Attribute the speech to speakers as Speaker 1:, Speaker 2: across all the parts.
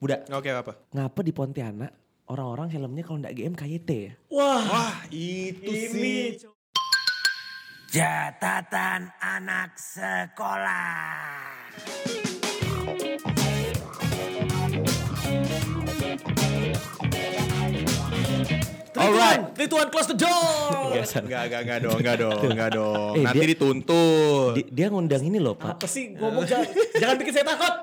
Speaker 1: Budak.
Speaker 2: Oke apa?
Speaker 1: Ngapa di Pontianak orang-orang helmnya kalau nggak GM KYT ya?
Speaker 2: Wah itu sih.
Speaker 3: Catatan anak sekolah.
Speaker 1: Alright.
Speaker 4: Rituan close the door.
Speaker 1: Biasa.
Speaker 2: Enggak, enggak, enggak dong, enggak dong, enggak dong.
Speaker 1: Eh,
Speaker 2: Nanti
Speaker 1: dia-
Speaker 2: dituntut.
Speaker 1: Di- dia ngundang ini loh pak.
Speaker 4: Apa sih ngomong jangan, jangan bikin saya takut.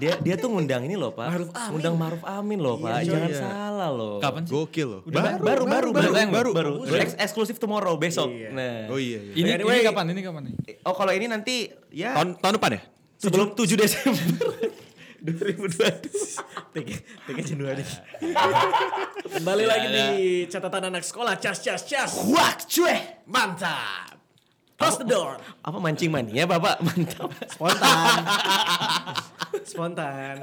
Speaker 1: Dia dia tuh ngundang ini loh pak.
Speaker 4: Ma'ruf Amin.
Speaker 1: Ngundang Maruf Amin loh pak.
Speaker 2: Iya,
Speaker 1: Jangan
Speaker 2: iya.
Speaker 1: salah loh.
Speaker 5: Kapan sih?
Speaker 2: Gokil loh.
Speaker 5: Udah
Speaker 1: Baru baru baru
Speaker 5: baru,
Speaker 1: baru
Speaker 5: tayang
Speaker 1: baru.
Speaker 5: loh.
Speaker 1: baru. Ex- eksklusif tomorrow besok.
Speaker 4: Iya.
Speaker 1: Nah.
Speaker 2: Oh iya, iya.
Speaker 5: Ini,
Speaker 4: Anyway.
Speaker 5: ini kapan? Ini kapan nih?
Speaker 1: Oh kalau ini nanti ya
Speaker 2: Tahun tahun depan ya?
Speaker 1: sebelum 7 Desember.
Speaker 4: 2022. Tiga- Tiga Januari. Kembali lagi
Speaker 1: Ya,
Speaker 4: di catatan anak sekolah. Cas, cas, cas.
Speaker 1: Wah, cuy.
Speaker 4: Mantap. Close the door.
Speaker 1: Apa mancing mania Bapak? Mantap.
Speaker 4: Spontan. Spontan.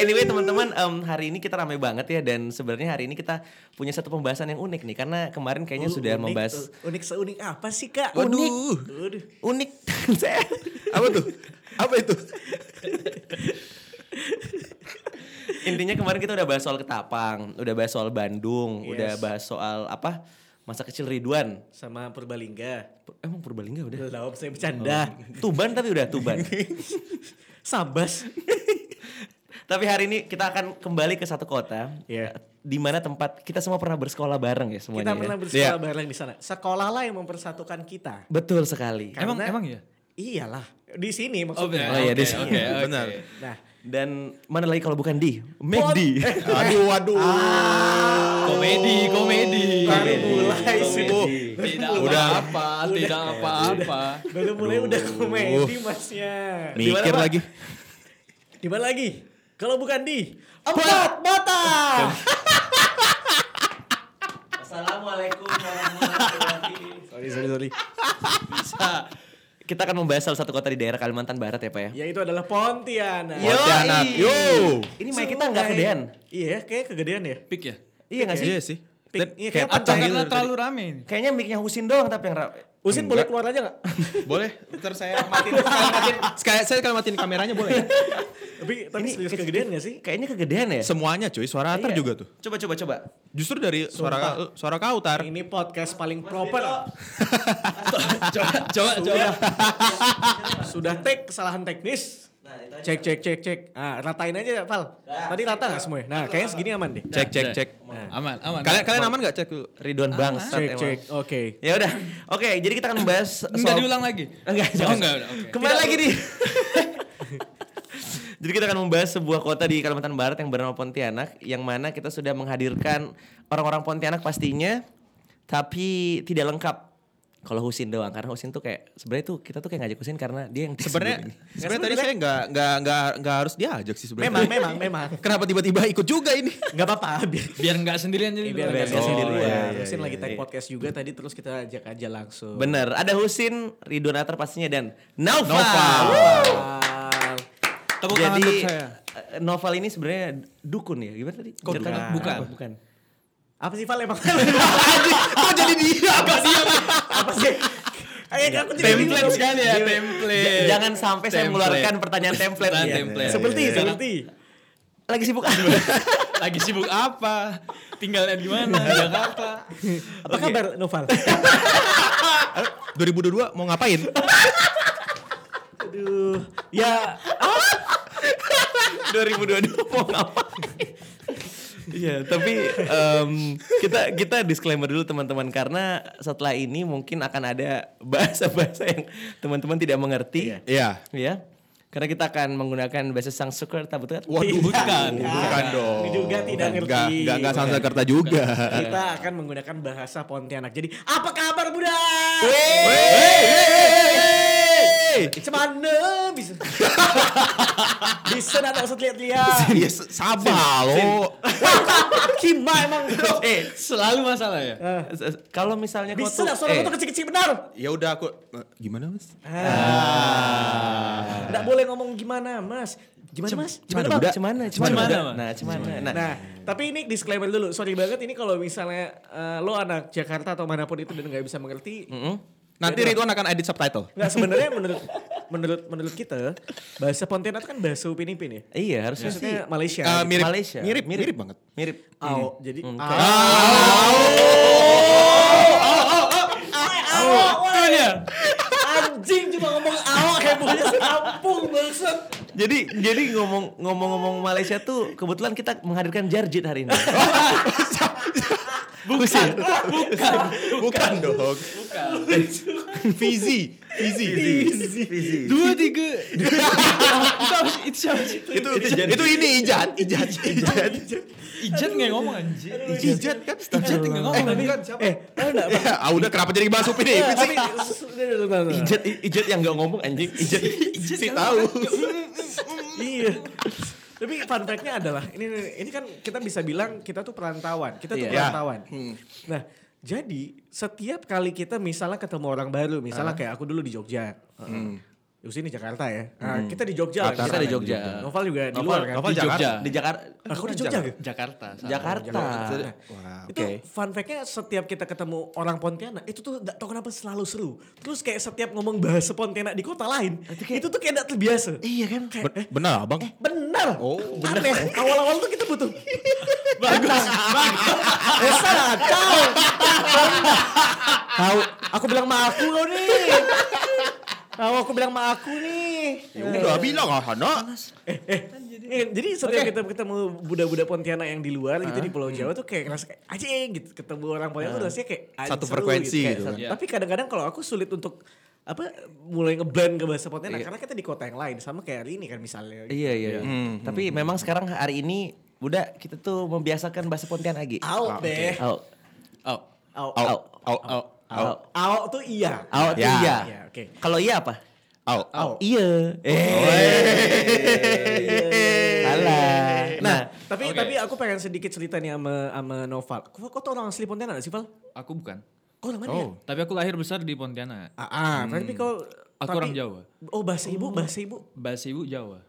Speaker 1: Anyway teman-teman em, hari ini kita ramai banget ya dan sebenarnya hari ini kita punya satu pembahasan yang unik nih karena kemarin kayaknya sudah
Speaker 4: Oh, Unik
Speaker 1: membahas
Speaker 4: tuh. Unik seunik apa sih kak?
Speaker 1: Waduh.
Speaker 4: Waduh.
Speaker 1: unik saya
Speaker 2: Apa tuh? Apa itu?
Speaker 1: intinya kemarin kita udah bahas soal Ketapang, udah bahas soal Bandung,
Speaker 4: Yes.
Speaker 1: udah bahas soal apa masa kecil Ridwan.
Speaker 4: Sama Purbalingga.
Speaker 1: Pur- Emang Purbalingga udah. Oh.
Speaker 4: Belum saya
Speaker 1: Nah,
Speaker 4: bercanda.
Speaker 1: Tuban tapi udah Tuban.
Speaker 4: Sabas.
Speaker 1: tapi hari ini kita akan kembali ke satu kota
Speaker 4: Iya.
Speaker 1: di mana tempat kita semua pernah bersekolah bareng ya semuanya.
Speaker 4: Kita
Speaker 1: ya.
Speaker 4: pernah bersekolah bareng di sana. Sekolah lah yang mempersatukan kita.
Speaker 1: Betul sekali.
Speaker 5: Emang
Speaker 4: Karena-
Speaker 5: emang ya?
Speaker 4: Iyalah, di sini
Speaker 5: Oh,
Speaker 1: Oh,
Speaker 4: maksudnya.
Speaker 1: iya,
Speaker 5: iya,
Speaker 1: di
Speaker 5: oke,
Speaker 1: sini.
Speaker 5: oke, oke.
Speaker 2: Benar.
Speaker 4: Nah,
Speaker 1: Dan mana lagi kalau bukan di McD.
Speaker 2: Aduh, aduh.
Speaker 5: Komedi, komedi.
Speaker 4: baru mulai sih.
Speaker 2: Aduh.
Speaker 5: Tidak
Speaker 2: Udah. Iya,
Speaker 5: apa-apa, tidak apa-apa.
Speaker 4: Baru mulai udah komedi masnya.
Speaker 2: Mikir
Speaker 1: Pak?
Speaker 2: lagi.
Speaker 4: Di mana lagi? Kalau bukan di empat mata.
Speaker 1: Assalamualaikum warahmatullahi
Speaker 4: sorry, sorry, sorry.
Speaker 1: Kita akan membahas salah satu kota di daerah Kalimantan Barat ya Pak ya.
Speaker 4: Ya itu adalah Pontianak.
Speaker 1: Yoi.
Speaker 2: Pontianak. Yo.
Speaker 1: Ini mic kita nggak kegedean.
Speaker 4: Iya, kayak kegedean ya.
Speaker 5: Pik ya?
Speaker 1: Iya nggak sih?
Speaker 2: Iya sih.
Speaker 4: Pik-
Speaker 2: Dan
Speaker 4: iya,
Speaker 2: kayak
Speaker 4: kayak
Speaker 5: Atau
Speaker 2: pecah
Speaker 5: karena
Speaker 2: gitu
Speaker 5: terlalu rame ini?
Speaker 1: Kayaknya mic-nya Husin doang tapi yang ra-
Speaker 4: Usin boleh keluar aja nggak?
Speaker 2: tadi. Boleh? Ntar saya matiin. Sekalian matiin. Sekalian- Saya sekalian matiin kameranya boleh? ya?
Speaker 4: tapi tapi
Speaker 1: Ini
Speaker 4: serius
Speaker 1: kecil-
Speaker 4: kegedean nggak sih?
Speaker 1: Kayaknya kegedean ya?
Speaker 2: Semuanya cuy, suara Atar
Speaker 1: Iya.
Speaker 2: juga tuh.
Speaker 1: Coba coba coba.
Speaker 2: Justru dari suara suara kau Tar.
Speaker 4: Ini podcast paling proper.
Speaker 5: Coba, coba, coba.
Speaker 4: Sudah take kesalahan teknis.
Speaker 1: Nah,
Speaker 4: Cek cek cek cek. Ah, ratain aja, Pal. Tadi rata nggak semuanya? Nah, kayaknya segini aman deh.
Speaker 2: Cek cek cek.
Speaker 5: Aman, aman.
Speaker 2: Kalian kalian aman gak cek dulu?
Speaker 1: Ridwan bangsat
Speaker 4: Cek
Speaker 1: emang.
Speaker 4: cek. Oke.
Speaker 1: Ya udah. Oke, jadi kita akan membahas soal
Speaker 5: Enggak diulang lagi?
Speaker 1: Enggak,
Speaker 5: Oh,
Speaker 1: jangan.
Speaker 5: enggak, udah, oke.
Speaker 1: Kembali lagi di Jadi kita akan membahas sebuah kota di Kalimantan Barat yang bernama Pontianak yang mana kita sudah menghadirkan orang-orang Pontianak pastinya tapi tidak lengkap kalau Husin doang karena Husin tuh kayak sebenarnya tuh kita tuh kayak ngajak Husin karena dia yang disebut
Speaker 2: Sebenarnya
Speaker 1: ini.
Speaker 2: sebenarnya tadi saya nggak nggak nggak nggak harus diajak sih sebenarnya.
Speaker 4: Memang, memang, memang.
Speaker 2: Kenapa tiba-tiba ikut juga ini?
Speaker 4: Nggak apa-apa. Biar,
Speaker 5: Biar enggak sendirian jadi.
Speaker 4: eh, biar
Speaker 5: dulu.
Speaker 4: nggak sendiri di
Speaker 1: Oh,
Speaker 4: luar.
Speaker 1: iya, iya,
Speaker 4: Terusin
Speaker 1: iya,
Speaker 4: lagi take
Speaker 1: iya.
Speaker 4: podcast juga tadi terus kita ajak aja langsung.
Speaker 1: Bener, ada Husin, Ridwan Atar pastinya dan Naufal.
Speaker 2: Naufal.
Speaker 4: Pal.
Speaker 5: Tepuk tangan
Speaker 1: Jadi
Speaker 5: untuk saya.
Speaker 1: eh, Novel ini sebenarnya dukun ya gimana tadi?
Speaker 5: Kok
Speaker 1: Jatuhnya?
Speaker 5: bukan? Bukan.
Speaker 1: Apa? bukan.
Speaker 4: Apa sih Pal emang?
Speaker 2: Kok jadi dia?
Speaker 4: Apa sih? Ayo, aku jadi
Speaker 5: Template
Speaker 4: bingung.
Speaker 5: sekali ya,
Speaker 1: Dia-
Speaker 5: template.
Speaker 1: J- Jangan sampai saya
Speaker 5: Template.
Speaker 1: mengeluarkan pertanyaan template.
Speaker 5: Pertanyaan
Speaker 1: Iya.
Speaker 5: template.
Speaker 4: Seperti,
Speaker 5: Iya.
Speaker 4: seperti.
Speaker 1: Lagi sibuk apa?
Speaker 5: Lagi sibuk apa? Tinggalnya di mana? Di Jakarta.
Speaker 4: Apa kabar Noval?
Speaker 2: 2022 mau ngapain?
Speaker 4: Aduh. Ya,
Speaker 1: 2022 mau ngapain? Iya, tapi em, kita kita disclaimer dulu teman-teman karena setelah ini mungkin akan ada bahasa-bahasa yang teman-teman tidak mengerti.
Speaker 2: Iya.
Speaker 1: Ya. Karena kita akan menggunakan bahasa Sangsekerta betul kan?
Speaker 2: Waduh,
Speaker 5: Bukan.
Speaker 2: bukan dong.
Speaker 4: Ini juga tidak
Speaker 2: Bukan,
Speaker 4: ngerti.
Speaker 2: Nggak nggak nggak Sansekerta juga.
Speaker 4: kita akan menggunakan bahasa Pontianak. Jadi, apa kabar budak? Cemana bisa? bisa datang set lihat-lihat.
Speaker 2: Iya, sabar lo.
Speaker 4: Kima emang.
Speaker 1: Eh,
Speaker 5: Selalu masalah ya?
Speaker 1: s- s- kalau misalnya
Speaker 4: Eh.
Speaker 1: kotu-
Speaker 4: Bisa lah suara
Speaker 1: eh,
Speaker 4: tuh kecil-kecil benar.
Speaker 2: Ya udah aku eh, gimana mas? Ah.
Speaker 4: Enggak boleh ngomong gimana, Mas. Gimana, Mas?
Speaker 1: Cuman
Speaker 4: Bang?
Speaker 1: udah, cuman, cuman,
Speaker 5: Cemana,
Speaker 1: udah.
Speaker 5: Bang?
Speaker 1: Nah, cuman, nah,
Speaker 4: Nah, tapi ini disclaimer dulu. Sorry banget ini kalau misalnya eh, lo anak Jakarta atau manapun itu dan nggak bisa mengerti.
Speaker 2: Nanti Ridwan akan edit subtitle.
Speaker 4: Nggak sebenarnya menurut menurut menurut kita bahasa Pontianak kan bahasa Upin Ipin ya.
Speaker 1: Iya harusnya sih.
Speaker 4: Maksudnya Malaysia.
Speaker 2: Eh, mirip,
Speaker 1: Malaysia.
Speaker 2: mirip, mirip, banget.
Speaker 1: Mirip.
Speaker 4: Au, jadi
Speaker 1: Hmm,
Speaker 4: au.
Speaker 1: kayak-
Speaker 5: Itu dia.
Speaker 4: anjing cuma ngomong awak hebohnya sekampung bangsat.
Speaker 1: Jadi jadi ngomong ngomong-ngomong Malaysia tuh kebetulan kita menghadirkan Jarjit hari ini. Bukan.
Speaker 2: Bukan dong. Bukan. Fizi, Fizi.
Speaker 5: Dua, tiga. Itu apa- Itu siapa sih?
Speaker 2: Itu itu ini Ijat, Ijat, Ijat.
Speaker 5: Ijat nggak ngomong anjir.
Speaker 2: Ijat kan
Speaker 5: Ijat nggak ngomong. anjing.
Speaker 4: Eh, tahu enggak?
Speaker 2: Ya, ah udah kenapa jadi bahas Upin
Speaker 1: Eh,
Speaker 2: Ipin sih?
Speaker 4: Tapi Ijat.
Speaker 1: Ijat Ijat yang nggak ngomong anjing. Ijat
Speaker 2: Si
Speaker 4: kan?
Speaker 2: tahu.
Speaker 4: Iya. Tapi fun fact-nya adalah ini ini kan kita bisa bilang kita tuh perantauan. Kita tuh
Speaker 1: Iya.
Speaker 4: perantauan. Nah, jadi setiap kali kita misalnya ketemu orang baru,
Speaker 1: Ah.
Speaker 4: misalnya kayak aku dulu di Jogja. Heeh. Yusuf di Jakarta ya. Nah, kita di Jogja.
Speaker 2: Ataran
Speaker 1: Hmm. Ah, kita di
Speaker 2: di
Speaker 1: Jogja.
Speaker 4: Novel juga di
Speaker 2: Novel-
Speaker 4: luar kan.
Speaker 2: Novel
Speaker 5: Di Jogja.
Speaker 1: Di Jakarta.
Speaker 4: Aku di Jogja. gitu. Nah,
Speaker 5: Jakarta. salah.
Speaker 1: Jakarta.
Speaker 2: Wah,
Speaker 4: Itu fun fact-nya setiap kita ketemu orang Pontianak itu tuh gak tau kenapa selalu seru. Terus kayak setiap ngomong bahasa Pontianak di kota lain itu, tuh kayak gak terbiasa. Iya kan? Kayak, eh,
Speaker 2: Benar, Bang.
Speaker 4: benar.
Speaker 2: Oh,
Speaker 4: Aneh. Awal-awal tuh kita butuh. bagus. bagus. Esa, kau. Kau, aku bilang sama aku kau nih. Kau aku bilang sama aku nih.
Speaker 2: Ya udah bilang ah, Hana.
Speaker 4: Eh, jadi setiap kita ketemu budak-budak Pontianak yang di luar gitu di Pulau Jawa tuh kayak ngerasa kayak anjing gitu ketemu orang Pontianak tuh rasanya kayak anjing,
Speaker 2: Satu
Speaker 4: seru
Speaker 2: frekuensi
Speaker 4: kayak
Speaker 2: gitu
Speaker 4: satu-
Speaker 5: kan.
Speaker 4: Tapi kadang-kadang kalau aku sulit untuk apa mulai ngeblend ke bahasa Pontianak karena kita di kota yang lain sama kayak hari ini kan misalnya.
Speaker 1: Iya iya. iya.
Speaker 4: Hmm.
Speaker 1: Tapi memang sekarang hari ini udah kita tuh membiasakan bahasa Pontianak lagi.
Speaker 4: Out deh.
Speaker 1: Au.
Speaker 5: Oh.
Speaker 4: Out.
Speaker 2: Au, au, au, au,
Speaker 1: Au.
Speaker 4: Out tuh iya.
Speaker 1: Au tuh
Speaker 2: Ya.
Speaker 1: iya.
Speaker 4: Iya, oke.
Speaker 1: Kalau iya apa?
Speaker 2: au.
Speaker 4: Au.
Speaker 1: Iya. Eh. Salah. Nah,
Speaker 4: Nah, tapi
Speaker 5: Oke.
Speaker 4: tapi aku pengen sedikit cerita nih sama sama Noval. Kok kok tau orang asli Pontianak gak sih, Val?
Speaker 5: Aku bukan.
Speaker 4: Kok orang mana? ya?
Speaker 2: Oh.
Speaker 5: Tapi aku lahir besar di Pontianak.
Speaker 4: Ah, ah, tapi kau
Speaker 5: Aku
Speaker 4: tapi-
Speaker 5: orang Jawa.
Speaker 4: Oh, bahasa ibu, bahasa ibu.
Speaker 5: Bahasa ibu Jawa.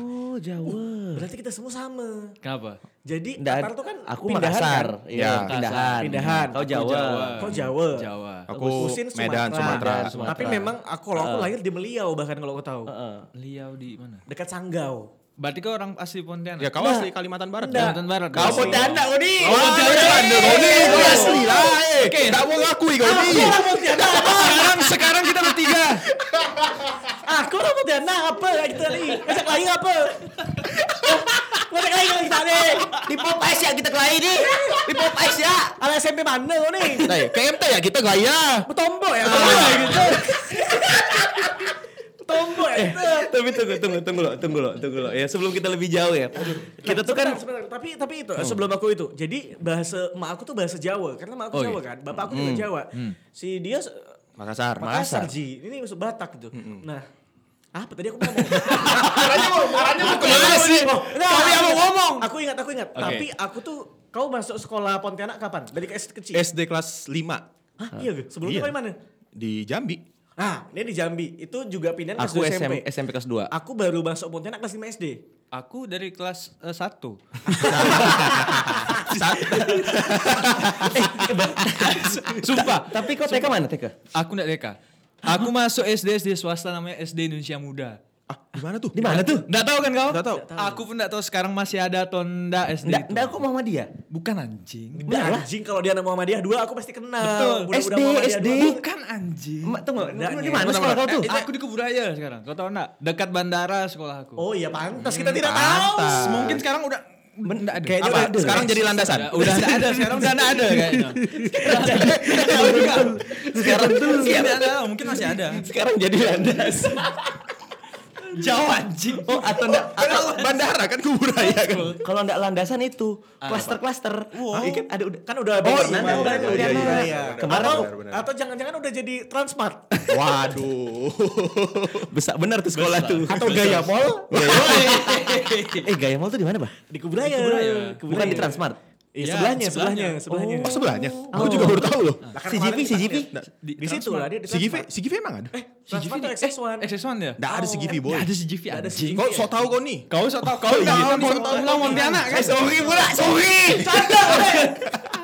Speaker 1: oh Jawa.
Speaker 4: Berarti kita semua sama.
Speaker 5: Kenapa?
Speaker 4: Jadi
Speaker 1: Dan
Speaker 4: Qatar tuh kan
Speaker 1: aku
Speaker 4: pindahan
Speaker 1: Makassar.
Speaker 4: kan?
Speaker 2: Ya.
Speaker 1: Iya, pindahan.
Speaker 4: Pindahan.
Speaker 1: Kau
Speaker 4: Aku
Speaker 1: Oh, Jawa.
Speaker 5: Jawa.
Speaker 4: Kok Jawa?
Speaker 2: Eh.
Speaker 5: Jawa.
Speaker 2: Aku
Speaker 4: Husin
Speaker 2: Medan, Sumatera. Iya,
Speaker 1: Medan, Sumatera.
Speaker 4: Tapi memang aku kalau aku lahir di Meliau bahkan kalau aku tahu.
Speaker 1: Heeh.
Speaker 5: Liau di mana?
Speaker 4: Dekat Sanggau.
Speaker 5: Berarti kau orang asli Pontianak.
Speaker 2: Ya kau asli Kalimantan Barat.
Speaker 4: Enggak.
Speaker 5: Kalimantan Barat.
Speaker 2: Kau
Speaker 5: Asli.
Speaker 2: Pontianak kau ni.
Speaker 5: Kau Pontianak.
Speaker 2: kau ni. Kau asli lah. eh. Tak mau ngakui kau ni.
Speaker 5: Sekarang sekarang kita bertiga.
Speaker 4: Ah, Aku lah mau dana apa ya kita nih? Ngajak lahir apa? Ngajak lahir kita nih.
Speaker 1: Di Popeyes ya kita kelahi nih. Di Popeyes ya.
Speaker 4: Ah, Ala SMP mana kau nih?
Speaker 2: Nah, KMT ya kita gaya.
Speaker 4: Betombo ya. Betombo ya gitu. Betombo ya gitu.
Speaker 1: Tapi tunggu, tunggu, tunggu loh, tunggu loh, tunggu loh. Ya sebelum kita lebih jauh ya. Kita tuh kan
Speaker 4: Sebentar, sebentar. tapi tapi itu sebelum aku itu. Jadi bahasa emak aku tuh bahasa Jawa karena emak aku
Speaker 5: Oh, iya.
Speaker 4: Jawa kan. Bapak aku juga Jawa. Si dia eh,
Speaker 2: Makassar.
Speaker 4: Makassar Ji. Ini masuk Batak gitu. Nah, apa tadi aku mau ngomong?
Speaker 2: Arahnya mau kemana sih?
Speaker 4: Kami mau ngomong. Nah, Aku ingat, aku ingat.
Speaker 5: Oke.
Speaker 4: Tapi aku tuh kau masuk sekolah Pontianak kapan? Dari ke SD kecil.
Speaker 2: SD kelas 5
Speaker 4: Hah, iya, Ge? sebelum
Speaker 2: Iya.
Speaker 4: itu kau di mana?
Speaker 2: di Jambi.
Speaker 4: Nah, ini di Jambi. Itu juga pindahan kelas
Speaker 1: aku
Speaker 4: dua
Speaker 1: SM,
Speaker 4: SMP.
Speaker 1: SMP kelas 2.
Speaker 4: Aku baru masuk Pontianak kelas 5 SD.
Speaker 5: Aku dari kelas 1. satu. Sumpah.
Speaker 1: Eh, Tapi kau TK mana TK?
Speaker 5: Aku nggak TK. Aku masuk SD SD swasta namanya SD Indonesia Muda.
Speaker 2: Ah, di mana tuh?
Speaker 1: Di mana tuh?
Speaker 5: Nggak tahu kan kau?
Speaker 2: Nggak tahu.
Speaker 5: Aku pun nggak tahu sekarang masih ada atau enggak SD
Speaker 1: Nggak,
Speaker 5: itu.
Speaker 1: nggak kok Muhammadiyah.
Speaker 5: Bukan anjing.
Speaker 1: Udah lah.
Speaker 4: Anjing Nah, kalau dia nama Muhammadiyah dua aku pasti kenal.
Speaker 5: Betul.
Speaker 2: Eh,
Speaker 4: Budak-budak
Speaker 1: SD,
Speaker 4: Muhammadiyah
Speaker 1: SD.
Speaker 4: dua.
Speaker 5: Bukan anjing. eh,
Speaker 1: Emak tunggu, lu di
Speaker 4: Nggak,
Speaker 1: mana
Speaker 4: nggak.
Speaker 1: sekolah kau tuh?
Speaker 5: Aku di Kuburaya sekarang. Kau tahu enggak? Dekat bandara sekolah aku.
Speaker 4: Oh iya pantas kita tidak tahu.
Speaker 2: pantas.
Speaker 5: Mungkin sekarang udah nggak ada.
Speaker 1: Kayaknya
Speaker 2: Apa?
Speaker 1: ada.
Speaker 2: Sekarang jadi landasan.
Speaker 5: Udah- Udah enggak ada, sekarang udah enggak ada kayaknya.
Speaker 1: Sekarang tuh.
Speaker 5: Iya, nggak tahu, mungkin masih ada.
Speaker 1: Sekarang jadi landas.
Speaker 5: Jauh anjing.
Speaker 1: Oh, atau enggak
Speaker 2: Kan bandara kan kuburaya kan.
Speaker 1: kalau enggak landasan itu klaster-klaster. Wow. Kan ada udah
Speaker 4: Kan udah ada
Speaker 1: Oh,
Speaker 4: warna,
Speaker 1: iya,
Speaker 4: udah
Speaker 1: iya,
Speaker 4: ada
Speaker 1: iya,
Speaker 4: warna.
Speaker 1: iya, iya. Kemarin
Speaker 4: atau,
Speaker 2: benar, benar.
Speaker 4: atau jangan-jangan udah jadi Transmart.
Speaker 2: Waduh.
Speaker 1: besar benar tuh sekolah tuh.
Speaker 4: atau Gaya Mall
Speaker 1: eh Gaya Mall tuh di mana, Bah?
Speaker 4: di Kuburaya.
Speaker 1: Bukan di Transmart.
Speaker 4: Iya,
Speaker 5: Iya,
Speaker 4: sebelahnya, sebelahnya,
Speaker 5: sebelahnya.
Speaker 4: sebelahnya.
Speaker 2: Oh sebelahnya. Aku juga baru tahu loh.
Speaker 1: CGV, CGV.
Speaker 4: di, situ lah dia di
Speaker 2: Si Givi,
Speaker 4: Transmart.
Speaker 2: si Givi emang ada? Eh,
Speaker 4: Transmart
Speaker 5: GV
Speaker 4: tuh XS1.
Speaker 5: XS1 ya?
Speaker 2: enggak Oh, ada si Givi boy.
Speaker 5: Nggak ada CGV
Speaker 4: Nggak ada
Speaker 5: anjing.
Speaker 4: CGV.
Speaker 2: Kau sok tahu kau nih.
Speaker 5: Kau sok tau, kau
Speaker 2: iya,
Speaker 5: tau,
Speaker 2: kan,
Speaker 5: kau
Speaker 2: sok
Speaker 5: tau,
Speaker 2: tahu. Eh,
Speaker 5: kau Pontianak kan?
Speaker 2: sorry pula, sorry.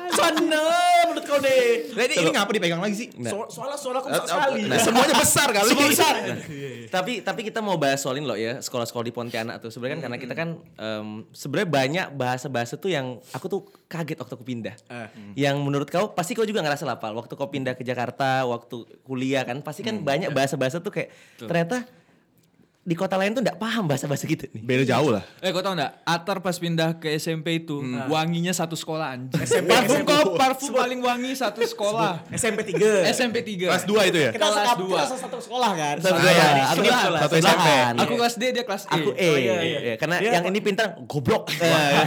Speaker 4: Sana menurut kau deh.
Speaker 2: Lah, ini, ini ngapa dipegang lagi sih?
Speaker 1: Nah.
Speaker 4: So- soalnya suara aku besar sekali.
Speaker 2: Nah, semuanya besar kali.
Speaker 4: Semua besar.
Speaker 2: Iya,
Speaker 1: tapi tapi kita mau bahas soalin loh ya sekolah-sekolah di Pontianak tuh sebenarnya kan karena kita kan em, sebenarnya banyak bahasa-bahasa tuh yang aku tuh kaget waktu aku pindah yang menurut kau pasti kau juga ngerasa lapal waktu kau pindah ke Jakarta waktu kuliah kan pasti kan banyak bahasa-bahasa tuh kayak ternyata di kota lain tuh nggak paham bahasa-bahasa gitu nih
Speaker 2: Beda jauh lah.
Speaker 5: Eh kau tau gak? Atar pas pindah ke SMP itu Nah. wanginya satu sekolah anjing.
Speaker 4: SMP, SMP.
Speaker 5: parfum kok, parfum paling wangi satu sekolah.
Speaker 4: SMP 3.
Speaker 5: SMP 3.
Speaker 2: Kelas 2 itu ya?
Speaker 4: Kita
Speaker 5: Eh, kelas
Speaker 4: satu
Speaker 5: dua.
Speaker 4: kita satu sekolah kan.
Speaker 2: Ah,
Speaker 1: Satu
Speaker 2: iya.
Speaker 1: sekolah, aku kan
Speaker 2: Sebelah-
Speaker 1: sekolah,
Speaker 2: satu SMP.
Speaker 1: sebelahan.
Speaker 5: Aku kelas D, dia kelas E.
Speaker 1: aku E
Speaker 4: iya, iya.
Speaker 1: iya. karena
Speaker 4: Dia
Speaker 1: yang
Speaker 4: apa-
Speaker 1: ini pintar goblok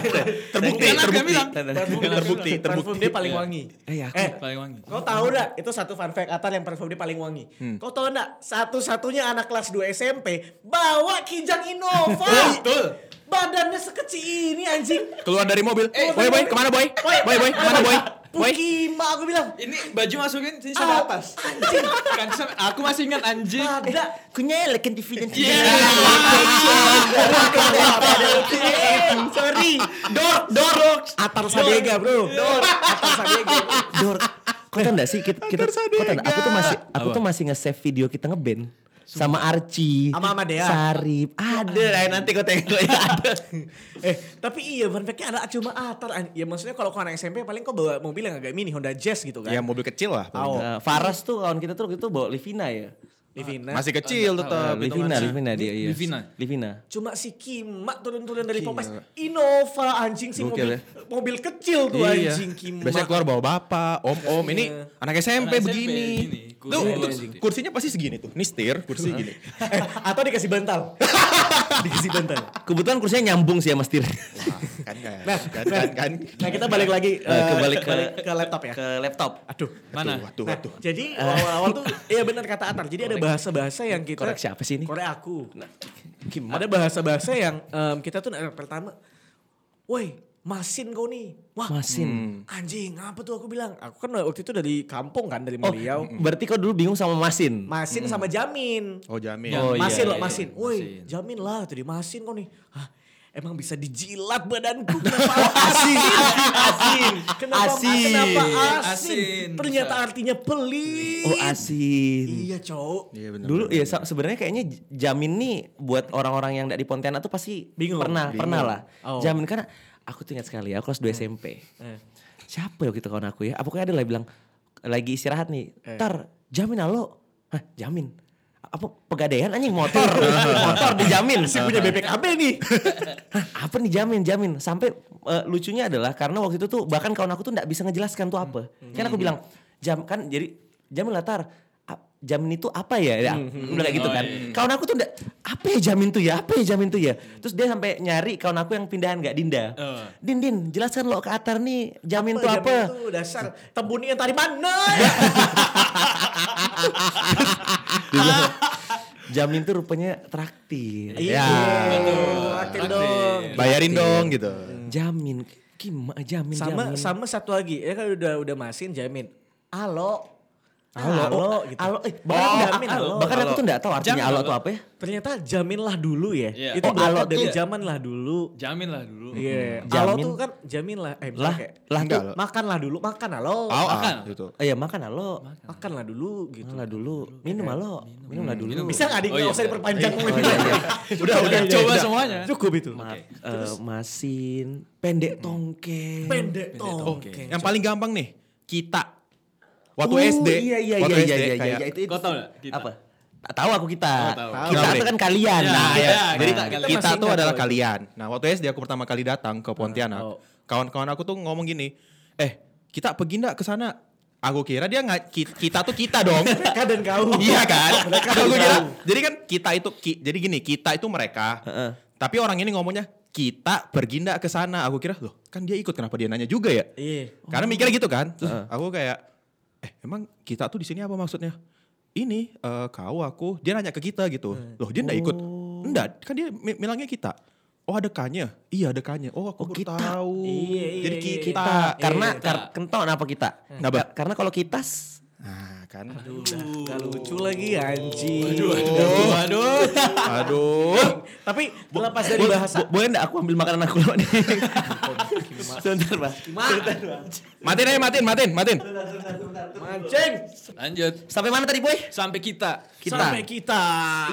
Speaker 2: Terbukti,
Speaker 5: Bukan, dia
Speaker 2: terbukti.
Speaker 5: bilang.
Speaker 4: Parfum
Speaker 2: Terbukti,
Speaker 4: dia-
Speaker 2: terbukti,
Speaker 4: Parfum dia paling wangi.
Speaker 1: Eh, ya aku.
Speaker 5: paling wangi.
Speaker 4: Kau tahu enggak itu satu fun fact Atar yang parfum dia paling wangi.
Speaker 2: Hmm.
Speaker 4: Kau tahu enggak satu-satunya anak kelas 2 SMP bawa Kijang Innova.
Speaker 2: Oh,
Speaker 4: Betul. Badannya sekecil ini anjing.
Speaker 2: Keluar dari mobil.
Speaker 4: Eh,
Speaker 2: boy, boy, kemana boy? Boy, boy, kemana boy? Boy.
Speaker 4: Pukima aku bilang.
Speaker 5: Ini baju masukin sini sampai
Speaker 4: Ah,
Speaker 5: atas.
Speaker 4: Anjing.
Speaker 5: Kan sampai- aku masih ingat anjing.
Speaker 4: Ada
Speaker 1: kunyai leken TV dan TV.
Speaker 4: Sorry. Dork, dork. Atar Sadega, Bro. Dork. Atar Sadega.
Speaker 1: Dor, kau tau gak sih kita, kita kau tau gak? aku tuh masih aku tuh masih nge-save video kita ngeband sama Archie,
Speaker 4: Sama ya? Amadea.
Speaker 1: Sarip, ada lah nanti kau tengok ya ada.
Speaker 4: Eh, tapi iya fun fact-nya ada cuma Atar. an- Ya maksudnya kalau kau anak SMP paling kau bawa mobil yang agak mini Honda Jazz gitu kan.
Speaker 2: Ya mobil kecil lah.
Speaker 4: Tahu.
Speaker 1: Eh, Faras tuh kawan kita tuh waktu itu bawa Livina ya.
Speaker 4: Eh, Livina.
Speaker 2: Masih kecil
Speaker 1: Eh,
Speaker 2: tetap.
Speaker 1: Livina, Livina dia iya.
Speaker 5: Livina.
Speaker 1: Livina.
Speaker 4: Cuma si Kimak turun-turun dari Pompas. Innova anjing si
Speaker 1: Gokil
Speaker 4: mobil,
Speaker 1: ya.
Speaker 4: mobil kecil tuh
Speaker 5: Iya.
Speaker 4: anjing Kimak.
Speaker 2: Biasanya keluar bawa bapak, om-om. Ini anak SMP
Speaker 5: Anak SMP
Speaker 2: begini.
Speaker 5: begini, kursi
Speaker 2: Tuh,
Speaker 5: dua
Speaker 2: tuh,
Speaker 5: gitu.
Speaker 2: kursinya pasti segini tuh. Ini setir, kursi gini.
Speaker 4: Eh, atau dikasih bantal. dikasih bantal.
Speaker 1: Kebetulan kursinya nyambung sih ya Mas Tir.
Speaker 2: Kan kan, kan kan kan.
Speaker 4: Nah kita balik lagi
Speaker 1: Eh,
Speaker 4: eh,
Speaker 1: kebalik ke-
Speaker 4: ke laptop ya.
Speaker 1: Ke laptop.
Speaker 4: Aduh.
Speaker 5: Mana?
Speaker 2: Waduh,
Speaker 4: Nah,
Speaker 2: waduh.
Speaker 4: jadi
Speaker 1: Eh.
Speaker 4: awal-awal tuh iya benar kata Atar. Jadi ada bahasa-bahasa yang kita
Speaker 1: Korek siapa sih ini? Nah,
Speaker 4: Korek aku.
Speaker 1: Oh,
Speaker 4: Ada bahasa-bahasa yang em, kita tuh anak pertama. Woi, masin kau nih. Wah, Hmm.
Speaker 1: Masin.
Speaker 4: anjing, apa tuh aku bilang? Aku kan waktu itu dari kampung kan, dari
Speaker 1: Oh, Hmm.
Speaker 4: Meliau.
Speaker 1: berarti kau dulu bingung sama Masin.
Speaker 4: Masin sama Jamin.
Speaker 2: Oh jamin.
Speaker 5: Oh, iya,
Speaker 4: masin loh,
Speaker 5: iya,
Speaker 4: masin.
Speaker 5: iya,
Speaker 4: Woi,
Speaker 5: masin.
Speaker 4: jamin lah tadi masin kok nih. Hah, emang bisa dijilat badanku kenapa asin? asin. Kenapa
Speaker 1: Asin.
Speaker 4: kenapa asin?
Speaker 5: Asin.
Speaker 4: Ternyata artinya pelit.
Speaker 1: Oh Asin.
Speaker 4: Iya, cowok.
Speaker 2: Iya benar.
Speaker 1: Dulu ya se- sebenarnya kayaknya j- Jamin nih buat orang-orang yang enggak di Pontianak tuh pasti
Speaker 4: Bingung.
Speaker 1: pernah pernah lah.
Speaker 4: Oh.
Speaker 1: Jamin karena aku tuh ingat sekali ya, aku kelas 2 SMP. Siapa ya gitu kawan aku ya? Apa pokoknya ada lah bilang lagi istirahat nih. Tar, Jamin alo. Hah, Jamin. Apa pegadaian anjing motor. motor dijamin. Si punya BPKB nih. Hah, apa nih jamin jamin sampai eh, lucunya adalah karena waktu itu tuh bahkan kawan aku tuh nggak bisa ngejelaskan tuh apa kan aku bilang jam kan jadi jamin latar jamin itu apa ya ya udah kayak gitu kan kawan aku tuh nggak apa ya jamin tuh ya apa ya jamin tuh ya terus dia sampai nyari kawan aku yang pindahan nggak dinda
Speaker 5: Eh.
Speaker 1: din din jelaskan lo ke atar nih jamin tuh
Speaker 4: Jamin
Speaker 1: apa
Speaker 4: tuh dasar tebuni yang tadi mana?
Speaker 1: jamin tuh rupanya traktir Ya.
Speaker 4: Iya. Akhir dong.
Speaker 2: Bayarin dong gitu.
Speaker 1: jamin gimana jamin
Speaker 4: Eh, Sama
Speaker 1: jamin
Speaker 4: sama satu lagi. Ya kan udah udah masin jamin. Alo.
Speaker 1: Alo, gitu.
Speaker 4: gitu.
Speaker 1: eh, bahkan,
Speaker 4: Oh,
Speaker 1: nggak-
Speaker 4: jamin alo.
Speaker 1: bahkan aku tuh gak tahu artinya
Speaker 5: Jamin
Speaker 1: alo
Speaker 5: alo.
Speaker 1: tuh apa ya.
Speaker 4: Ternyata jaminlah dulu ya.
Speaker 5: Iya.
Speaker 4: Itu
Speaker 1: Oh,
Speaker 4: berarti
Speaker 1: alo
Speaker 4: dari
Speaker 1: tuh-
Speaker 4: zaman lah dulu.
Speaker 5: Jamin lah dulu.
Speaker 4: Iya.
Speaker 1: Hmm.
Speaker 4: Alo
Speaker 1: Jamin.
Speaker 4: tuh kan jaminlah. Eh, misalnya
Speaker 1: Lah,
Speaker 4: kayak,
Speaker 1: lah
Speaker 2: Enggak
Speaker 1: tuh.
Speaker 2: lah.
Speaker 4: makanlah dulu, makan alo.
Speaker 2: Au, ah,
Speaker 5: Makan.
Speaker 2: gitu.
Speaker 1: Oh iya makan alo.
Speaker 4: Makanlah dulu gitu.
Speaker 1: Makan lah dulu. Minum alo. Minum lah dulu.
Speaker 5: Minum.
Speaker 4: Bisa nggak dik?
Speaker 5: Oh,
Speaker 4: Nggak
Speaker 5: iya.
Speaker 4: usah diperpanjang.
Speaker 1: Oh, iya, iya.
Speaker 5: Udah, udah coba semuanya.
Speaker 4: iya. Cukup itu.
Speaker 1: Maaf. eh, masin. Pendek tongkeng.
Speaker 4: Pendek tongkeng.
Speaker 2: Oh, Yang paling gampang nih, kita. Waktu
Speaker 1: Oh,
Speaker 2: SD.
Speaker 1: Iya iya
Speaker 2: waktu
Speaker 1: iya
Speaker 2: SD,
Speaker 1: iya iya.
Speaker 2: kayak-
Speaker 1: iya, itu- itu.
Speaker 5: Kau tahu nggak kita?
Speaker 1: Apa? Tak tahu aku kita.
Speaker 5: Oh, tahu.
Speaker 1: Kita
Speaker 2: Kenapa,
Speaker 1: tuh
Speaker 2: Dik?
Speaker 1: kan kalian.
Speaker 2: Nah,
Speaker 5: Ya,
Speaker 1: Nah,
Speaker 5: iya.
Speaker 2: ya. Jadi
Speaker 5: Kita
Speaker 2: kita,
Speaker 4: masih
Speaker 2: tuh
Speaker 4: ingat
Speaker 2: adalah
Speaker 4: kok itu.
Speaker 2: kalian. Nah, waktu SD aku pertama kali datang ke Pontianak,
Speaker 4: Oh.
Speaker 2: kawan-kawan aku tuh ngomong gini, "Eh, kita pergi ndak ke sana?" Aku kira dia nggak ki- kita tuh kita dong.
Speaker 4: Mereka dan kau.
Speaker 2: iya kan?
Speaker 4: Mereka dan
Speaker 2: Aku kira.
Speaker 4: kau.
Speaker 2: Jadi kan kita itu ki- jadi gini, kita itu mereka.
Speaker 1: Heeh.
Speaker 2: Tapi orang ini ngomongnya kita pergi ndak ke sana. Aku kira, "Loh, kan dia ikut kenapa dia nanya juga ya?"
Speaker 4: Iya.
Speaker 2: Karena mikirnya gitu kan. Terus aku kayak eh emang kita tuh di sini apa maksudnya? Ini eh, kau aku dia nanya ke kita gitu. Loh, dia enggak ikut.
Speaker 4: Oh.
Speaker 2: Enggak, kan dia mi- bilangnya kita. Oh, ada kanya. Iya, ada kanya. Oh, aku
Speaker 1: Oh,
Speaker 2: baru
Speaker 1: kita.
Speaker 2: tahu.
Speaker 4: Iya, iya,
Speaker 2: Jadi
Speaker 4: iya,
Speaker 2: kita.
Speaker 1: kita. Karena kar- kentok kenapa kita?
Speaker 2: Kenapa?
Speaker 1: Karena kalau kitas
Speaker 2: Nah, kan. Aduh.
Speaker 4: Gak lucu lagi anjing.
Speaker 2: Aduh. Aduh. Aduh.
Speaker 4: Tapi lepas dari
Speaker 1: Bo-
Speaker 4: bahasa.
Speaker 1: bo- boleh enggak aku ambil makanan aku lewat Sebentar, Pak.
Speaker 2: Matiin aja, matiin, matiin, matiin.
Speaker 4: Mancing.
Speaker 5: Lanjut.
Speaker 1: Sampai mana tadi, Boy?
Speaker 5: Sampai kita.
Speaker 1: Kita.
Speaker 4: Sampai kita.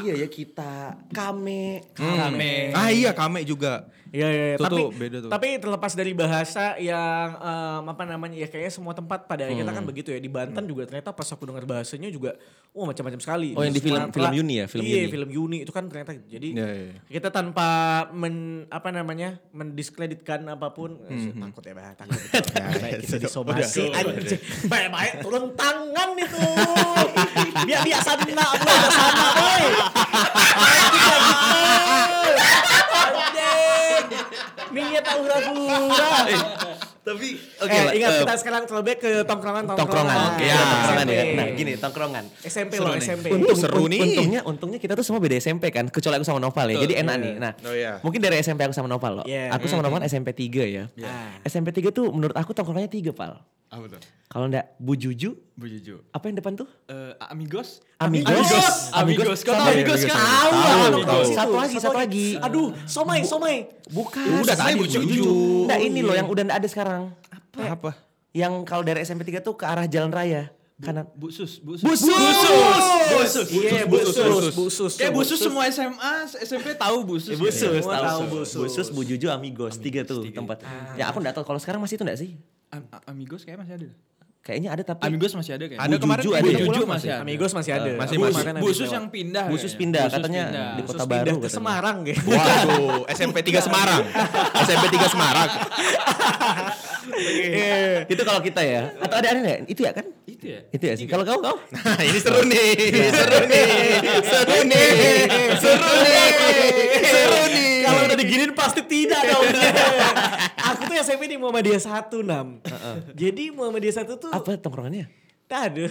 Speaker 1: Iya ya kita. Kame.
Speaker 5: Kame.
Speaker 2: Ah iya, kame juga.
Speaker 4: Iya iya. iya.
Speaker 2: Itu
Speaker 4: Tapi
Speaker 2: tuh beda tuh.
Speaker 4: tapi terlepas dari bahasa yang em, apa namanya ya kayaknya semua tempat pada akhirnya
Speaker 1: Hmm.
Speaker 4: kan begitu ya di Banten juga ternyata pas aku dengar bahasanya juga wah macam-macam sekali.
Speaker 1: Oh, yang di film-
Speaker 4: Sumatera-
Speaker 1: film Uni ya, film
Speaker 4: iya,
Speaker 1: Uni.
Speaker 4: film Uni itu kan ternyata jadi
Speaker 2: Iya, iya, iya.
Speaker 4: kita tanpa men apa namanya mendiskreditkan apapun Eh,
Speaker 1: Hmm,
Speaker 4: takut ya bah takut. Baik, kita disomasi anjing. Baik-baik turun tangan itu. Biar dia sana lu ada sana boy. Anjing. Minyak tahu hura-hura.
Speaker 1: Tapi
Speaker 4: eh,
Speaker 1: lah,
Speaker 4: ingat
Speaker 1: eh,
Speaker 4: kita sekarang throwback ke tongkrongan Nah,
Speaker 1: tongkrongan. Ya, tongkrongan ya.
Speaker 4: SMP.
Speaker 1: Nah, gini tongkrongan.
Speaker 4: SMP loh, SMP.
Speaker 2: Untung seru nih.
Speaker 1: Untungnya, untungnya kita tuh semua beda SMP kan, kecuali aku sama Nopal ya. Jadi enak nih. Nah,
Speaker 2: Oh, iya.
Speaker 1: mungkin dari SMP aku sama Nopal loh.
Speaker 4: Iya.
Speaker 1: Aku sama Nopal SMP 3 ya.
Speaker 4: Nah.
Speaker 1: SMP 3 tuh menurut aku tongkrongannya 3, Pal.
Speaker 5: Apa tuh?
Speaker 1: Kalau enggak Bu Juju,
Speaker 5: Bu Juju.
Speaker 1: apa yang depan tuh?
Speaker 5: Eh, amigos?
Speaker 1: Amigos.
Speaker 4: Amigos. Iya,
Speaker 5: Amigos. Kau tahu
Speaker 1: Sama ya,
Speaker 5: Amigos kan?
Speaker 4: Tahu lah tongkrongan
Speaker 1: Tahu.
Speaker 4: situ.
Speaker 1: Satu lagi, satu lagi.
Speaker 4: Aduh, somai, somai.
Speaker 1: Bukan.
Speaker 2: Udah tadi Bu Juju.
Speaker 1: Nah, ini loh yang udah enggak ada sekarang.
Speaker 2: Apa?
Speaker 1: Yang kalau dari SMP 3 tuh ke arah jalan raya. Kanan.
Speaker 5: Bu Sus. Bu Sus.
Speaker 1: Busus!
Speaker 5: Busus.
Speaker 4: Iya,
Speaker 2: Busus,
Speaker 4: busus,
Speaker 2: busus.
Speaker 4: busus.
Speaker 5: Kayak Bu Sus semua SMA, SMP tahu Bu Sus.
Speaker 1: Busus,
Speaker 4: Semua tahu
Speaker 1: Iya, tahu
Speaker 4: Busus.
Speaker 1: Busus. Busus, Bu Juju, Amigos, tiga tuh tempat. Ya aku nggak tahu kalau sekarang masih itu nggak sih?
Speaker 5: Am- amigos kayak masih ada.
Speaker 1: Kayaknya ada tapi
Speaker 5: Amigos masih ada kayaknya.
Speaker 2: Ada
Speaker 1: Bu
Speaker 2: kemarin
Speaker 1: Juju
Speaker 2: Bu
Speaker 1: ada.
Speaker 5: Bu
Speaker 1: yang
Speaker 5: Juju
Speaker 1: pulang.
Speaker 5: masih ada.
Speaker 4: Amigos masih ada.
Speaker 2: masih
Speaker 4: Aku
Speaker 5: Bu,
Speaker 2: masih
Speaker 4: kemarin
Speaker 5: Bu
Speaker 4: habis
Speaker 5: Sus
Speaker 4: lewat.
Speaker 5: yang pindah. ya.
Speaker 1: Bu Sus pindah katanya di
Speaker 5: Busus
Speaker 1: Kota
Speaker 4: Terus pindah
Speaker 1: Baru
Speaker 4: ke
Speaker 1: katanya.
Speaker 4: Semarang gitu.
Speaker 2: Waduh, SMP 3 Semarang. SMP 3 Semarang.
Speaker 1: Itu kalau kita ya. Atau ada ada nggak? Itu ya kan?
Speaker 5: Itu ya.
Speaker 1: Itu ya sih. Kalau kau kau?
Speaker 2: Nah, ini seru nih.
Speaker 1: Iya.
Speaker 2: Seru nih. Seru nih. Seru nih. Seru nih.
Speaker 4: Kalau udah diginin pasti tidak dong. Aku tuh SMP di Muhammadiyah 1, Nam. Jadi Muhammadiyah 1 tuh
Speaker 1: Apa tongkrongannya?
Speaker 4: ada.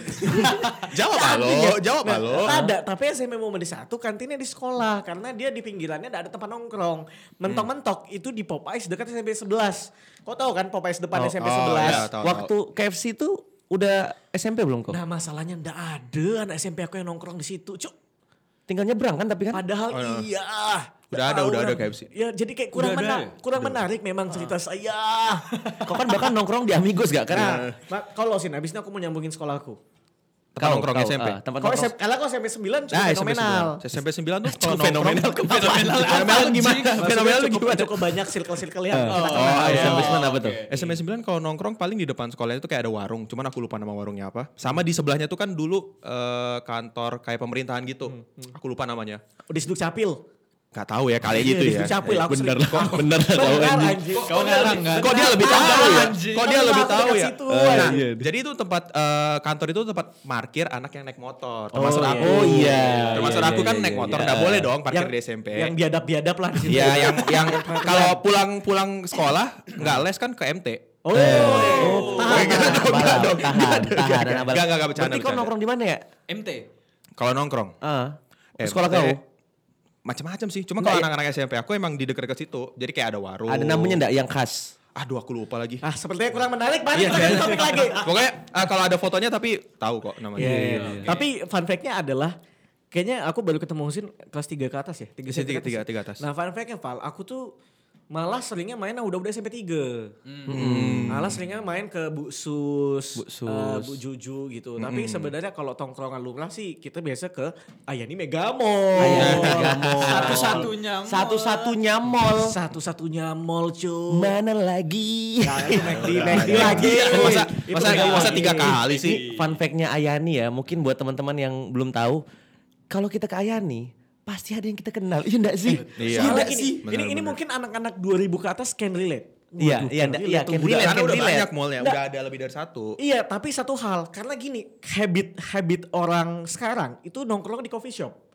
Speaker 2: Jawab halo, jawab halo.
Speaker 4: ya, nah, Ada, tapi SMP Muhammadiyah 1 kantinnya di sekolah karena dia di pinggirannya ada tempat nongkrong. Mentok-mentok itu di Popeyes dekat SMP 11. Kau tahu kan Popeyes depan
Speaker 1: Oh,
Speaker 4: SMP
Speaker 2: oh,
Speaker 4: 11.
Speaker 2: iya. Tahu,
Speaker 1: Waktu KFC tuh udah SMP belum kok?
Speaker 4: Nah, masalahnya ndak ada anak SMP aku yang nongkrong di situ, Cuk.
Speaker 1: Tinggal nyebrang kan tapi kan?
Speaker 4: Padahal iya.
Speaker 2: Oh, Udah ada,
Speaker 4: Tahu
Speaker 2: udah ada
Speaker 4: orang.
Speaker 2: KFC.
Speaker 4: Ya jadi kayak kurang
Speaker 5: Udah ada
Speaker 4: menarik,
Speaker 5: ya?
Speaker 4: kurang menarik memang cerita saya.
Speaker 1: Kau kan bahkan nongkrong di Amigos
Speaker 2: Iya.
Speaker 1: gak
Speaker 4: Nah,
Speaker 1: kan?
Speaker 4: mak- kau losin habis ini aku mau nyambungin sekolahku.
Speaker 2: Tempat nongkrong SMP.
Speaker 1: ah, tempat
Speaker 4: Kau
Speaker 1: nongkrong.
Speaker 4: SMP, kalau kau SMP 9 cukup
Speaker 2: Nah, SMP
Speaker 4: fenomenal.
Speaker 2: 9. SMP 9 tuh
Speaker 1: Cukup fenomenal.
Speaker 5: Fenomenal.
Speaker 2: Fenomenal
Speaker 5: Anjing.
Speaker 2: gimana?
Speaker 5: Maksudnya
Speaker 2: Fenomenal
Speaker 4: cukup,
Speaker 2: gimana?
Speaker 4: cukup banyak circle-circle yang kita kan. kenal.
Speaker 2: Oh, iya.
Speaker 1: SMP 9 apa tuh?
Speaker 2: SMP 9 kalau nongkrong paling di depan sekolahnya itu kayak ada warung, cuman aku lupa nama warungnya apa. Sama di sebelahnya tuh kan dulu eh, kantor kayak pemerintahan gitu. Aku lupa namanya.
Speaker 4: Di Suduk Capil.
Speaker 2: Gak tahu ya kali
Speaker 4: Iya,
Speaker 2: gitu
Speaker 4: di
Speaker 2: ya.
Speaker 4: Suduk Capil aku
Speaker 2: Bener
Speaker 4: sering-
Speaker 2: lah, bener lah tahu
Speaker 4: Benar,
Speaker 2: anjing.
Speaker 4: anjing.
Speaker 5: Kau ngarang kan?
Speaker 2: Kok dia lebih tahu ya?
Speaker 5: Anjing.
Speaker 2: Kok dia
Speaker 4: Kenapa
Speaker 2: lebih
Speaker 4: aku
Speaker 2: tahu
Speaker 4: dekat
Speaker 2: ya?
Speaker 4: situ?
Speaker 2: Nah,
Speaker 1: Iya.
Speaker 2: jadi itu tempat eh, kantor itu tempat parkir anak yang naik motor. Termasuk
Speaker 4: iya.
Speaker 2: aku.
Speaker 1: Oh, iya.
Speaker 2: Termasuk
Speaker 1: Iya,
Speaker 2: aku
Speaker 1: iya,
Speaker 2: kan
Speaker 1: iya,
Speaker 2: naik
Speaker 1: iya.
Speaker 2: motor nggak boleh dong parkir
Speaker 4: Yang-
Speaker 2: di SMP.
Speaker 4: Yang biadab-biadab lah di situ.
Speaker 2: Iya, yang yang kalau pulang-pulang sekolah nggak les kan ke MT.
Speaker 4: Oh,
Speaker 2: iya.
Speaker 1: Tahan,
Speaker 4: tahan.
Speaker 1: tahan, tahan, tahan, tahan, tahan, abal.
Speaker 2: Gak, gak, gak, bercanda,
Speaker 1: Berarti kau
Speaker 2: bercanda.
Speaker 1: nongkrong di mana ya?
Speaker 5: MT.
Speaker 2: Kalau nongkrong.
Speaker 1: Ah,
Speaker 2: Eh, eh,
Speaker 1: sekolah kau?
Speaker 2: Macam-macam sih. Cuma
Speaker 1: Nggak,
Speaker 2: kalau
Speaker 1: ya.
Speaker 2: anak-anak SMP aku emang di dekat-dekat situ. Jadi kayak ada warung.
Speaker 1: Ada namanya enggak yang khas?
Speaker 2: Aduh, aku lupa lagi.
Speaker 4: Ah, sepertinya kurang menarik.
Speaker 2: Iya.
Speaker 4: Balik lagi ke topik lagi.
Speaker 2: Pokoknya eh, kalau ada fotonya tapi tahu kok namanya.
Speaker 4: Iya, iya, iya. Tapi fun fact-nya adalah kayaknya aku baru ketemu Husin kelas 3 ke atas ya? 3
Speaker 2: Iya, tiga- tiga- tiga atas.
Speaker 4: Nah, fun fact-nya Val, aku tuh malah seringnya main yang udah-udah SMP 3.
Speaker 2: Hmm.
Speaker 4: Malah seringnya main ke Bu Sus, eh, Bu Juju gitu.
Speaker 2: Hmm.
Speaker 4: Tapi sebenarnya kalau tongkrongan lumrah sih kita biasa ke Ayani Megamall.
Speaker 1: Ayani
Speaker 4: Oh.
Speaker 1: Megamall.
Speaker 5: Satu-satunya. mall.
Speaker 1: Satu-satunya mall.
Speaker 4: Satu-satunya mall cuy.
Speaker 1: Mana lagi?
Speaker 4: Nah, itu McD, McD
Speaker 2: Nah, Iya,
Speaker 4: lagi.
Speaker 2: masa
Speaker 4: Itu
Speaker 2: masa,
Speaker 4: McD
Speaker 2: masa
Speaker 4: lagi.
Speaker 2: tiga kali sih?
Speaker 1: Ini fun fact-nya Ayani ya, mungkin buat teman-teman yang belum tahu, kalau kita ke Ayani, pasti ada yang kita kenal. Iya enggak sih?
Speaker 2: Iya.
Speaker 4: Soalnya
Speaker 1: enggak
Speaker 4: gini,
Speaker 1: sih?
Speaker 4: ini, ini mungkin anak-anak 2000 ke atas can relate.
Speaker 1: Iya,
Speaker 4: Waduh,
Speaker 1: iya,
Speaker 4: can
Speaker 1: ndak-
Speaker 4: relate
Speaker 1: iya,
Speaker 4: tuh
Speaker 1: can
Speaker 4: budak.
Speaker 1: relate.
Speaker 2: Karena udah
Speaker 1: relate.
Speaker 2: banyak mallnya,
Speaker 4: Nggak.
Speaker 2: udah ada lebih dari satu.
Speaker 4: Iya, tapi satu hal, karena gini, habit habit orang sekarang itu nongkrong di coffee shop.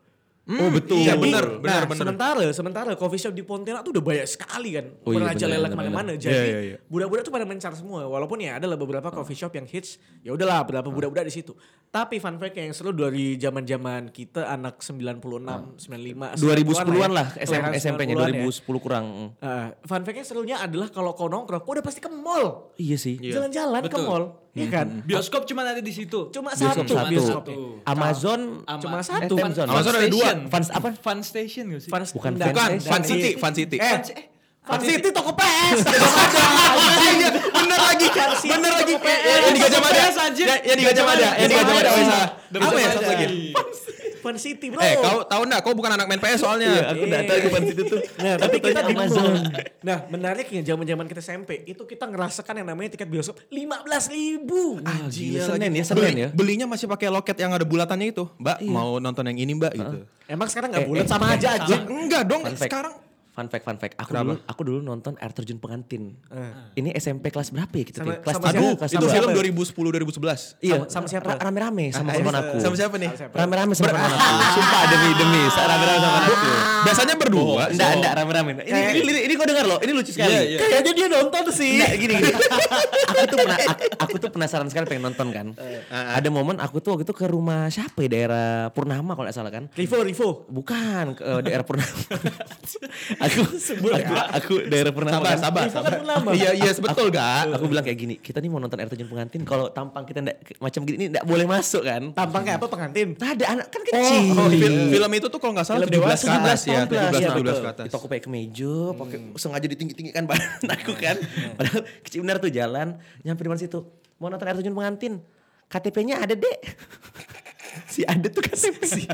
Speaker 2: oh betul. Iya benar,
Speaker 4: Nah,
Speaker 2: benar, benar.
Speaker 4: Sementara, sementara coffee shop di Pontianak tuh udah banyak sekali kan.
Speaker 1: Oh iya,
Speaker 4: Raja
Speaker 1: benar,
Speaker 4: lelah
Speaker 1: benar,
Speaker 4: kemana-mana.
Speaker 2: benar.
Speaker 4: Jadi
Speaker 2: Iya, iya, iya.
Speaker 4: budak-budak tuh pada mencar semua. Walaupun ya ada lah beberapa coffee shop yang hits. Ya udahlah berapa
Speaker 2: Hmm.
Speaker 4: budak-budak di situ. Tapi fun fact yang seru dari zaman-zaman kita anak 96, 95,
Speaker 1: 2010-an lah,
Speaker 2: eh,
Speaker 1: SM,
Speaker 4: ya. Kelahiran
Speaker 1: SMP-nya
Speaker 4: 90-an ya.
Speaker 1: 2010 kurang.
Speaker 4: Eh, fun fact-nya serunya adalah kalau kau nongkrong, kau udah pasti ke mall.
Speaker 1: Iya sih. Mm-hmm.
Speaker 4: Jalan-jalan ke
Speaker 5: Betul.
Speaker 4: mall. Iya kan?
Speaker 5: Bioskop cuma ada di situ.
Speaker 4: Cuma
Speaker 1: Bioskop
Speaker 4: satu.
Speaker 1: satu.
Speaker 4: bioskopnya.
Speaker 1: Amazon
Speaker 5: Ama-
Speaker 4: Cuma
Speaker 5: eh,
Speaker 4: satu.
Speaker 5: Fun-
Speaker 1: Amazon.
Speaker 5: Fun
Speaker 2: Amazon ada dua.
Speaker 5: Station.
Speaker 1: Fun- apa?
Speaker 5: Fun Station gak sih?
Speaker 4: Fun-
Speaker 1: Bukan
Speaker 4: dan-
Speaker 2: Bukan,
Speaker 4: dan-
Speaker 2: Fun City, Fun City.
Speaker 4: Eh, Fun City toko PS.
Speaker 2: Iya, bener lagi. Bener lagi. Yang di Gajah Mada.
Speaker 5: Yes, anjir.
Speaker 2: Ya, Yang di Gajah Mada, yang di Gajah Mada.
Speaker 5: Gajah
Speaker 2: wes,
Speaker 5: Mada.
Speaker 2: ah.
Speaker 5: Gajah
Speaker 2: Apa ya
Speaker 5: Mada.
Speaker 2: satu lagi?
Speaker 4: Fun City bro.
Speaker 2: Eh, kau tahu enggak kau bukan anak main PS
Speaker 1: Iya,
Speaker 2: soalnya.
Speaker 1: aku udah tahu cuma situ tuh.
Speaker 4: Nah, tapi
Speaker 1: Aku taunya
Speaker 4: kita di
Speaker 1: Amazon.
Speaker 4: mall. Nah, menariknya zaman-zaman kita SMP, itu kita ngerasakan yang namanya tiket bioskop 15 ribu.
Speaker 2: Ah.
Speaker 1: Gila, Senin ya, Senin ya.
Speaker 2: Belinya masih pakai loket yang ada bulatannya itu. Mbak, mau nonton yang ini, Mbak gitu.
Speaker 4: Emang sekarang
Speaker 1: Eh,
Speaker 4: gak bulat
Speaker 1: eh,
Speaker 4: sama aja aja.
Speaker 2: Ya, enggak dong,
Speaker 1: Fun fact.
Speaker 2: sekarang
Speaker 1: Fun fact, fun fact. Aku
Speaker 2: Kenapa?
Speaker 1: dulu aku dulu nonton air terjun pengantin. Ini SMP kelas berapa ya kita?
Speaker 4: Eh. Sama-
Speaker 1: Tin? kelas
Speaker 4: sama
Speaker 1: tiga,
Speaker 2: Aduh,
Speaker 1: kelas
Speaker 2: itu
Speaker 1: dua.
Speaker 2: film
Speaker 4: siapa?
Speaker 2: 2010 2011.
Speaker 1: Iya,
Speaker 4: Sama- sama siapa? Eh,
Speaker 1: ra- Rame-rame sama
Speaker 2: Ah,
Speaker 1: teman
Speaker 2: iya.
Speaker 1: aku.
Speaker 2: Sama siapa nih?
Speaker 4: Sama siapa?
Speaker 1: Rame-rame sama teman aku.
Speaker 2: Sumpah demi demi, rame-rame sama aku. Biasanya berdua.
Speaker 4: Oh,
Speaker 1: Enggak, enggak rame-rame. Ini
Speaker 4: Kayak-
Speaker 1: ini ini, ini kau dengar loh, ini lucu sekali.
Speaker 5: Iya, iya.
Speaker 4: Kayaknya dia nonton sih.
Speaker 2: Nah,
Speaker 1: Nggak, gini gini. aku tuh pernah aku, aku tuh penasaran sekali pengen nonton kan.
Speaker 4: Eh,
Speaker 1: Ada momen aku tuh waktu itu ke rumah siapa ya daerah Purnama kalau nggak salah kan.
Speaker 4: Rivo, Rivo.
Speaker 1: Bukan ke eh, daerah Purnama. aku, aku aku daerah Purnama.
Speaker 2: Sabar,
Speaker 1: kan.
Speaker 2: sabar,
Speaker 4: Ivo kan
Speaker 2: sabar.
Speaker 4: pernah, Mbak.
Speaker 2: Iya, iya, betul gak?
Speaker 1: Aku bilang kayak gini, kita nih mau nonton air terjun pengantin kalau tampang kita ndak macam gini ini ndak boleh masuk kan.
Speaker 4: Tampang kayak apa pengantin?
Speaker 1: Tak ada anak kan kecil.
Speaker 2: Oh, fil- film itu tuh kalau nggak salah
Speaker 1: Film
Speaker 2: 17
Speaker 1: dewasa,
Speaker 2: ke atas
Speaker 1: 17
Speaker 2: ya,
Speaker 1: tahun plus,
Speaker 2: 17 17
Speaker 1: iya,
Speaker 2: ke
Speaker 1: betul.
Speaker 2: atas.
Speaker 1: Di toko pakai kemeja, pakai sengaja ditinggi-tinggikan badan aku kan. Padahal kecil benar tuh jalan, nyampe di mana situ. Mau nonton air terjun pengantin. KTP-nya ada, Dek. si ada tuh KTP.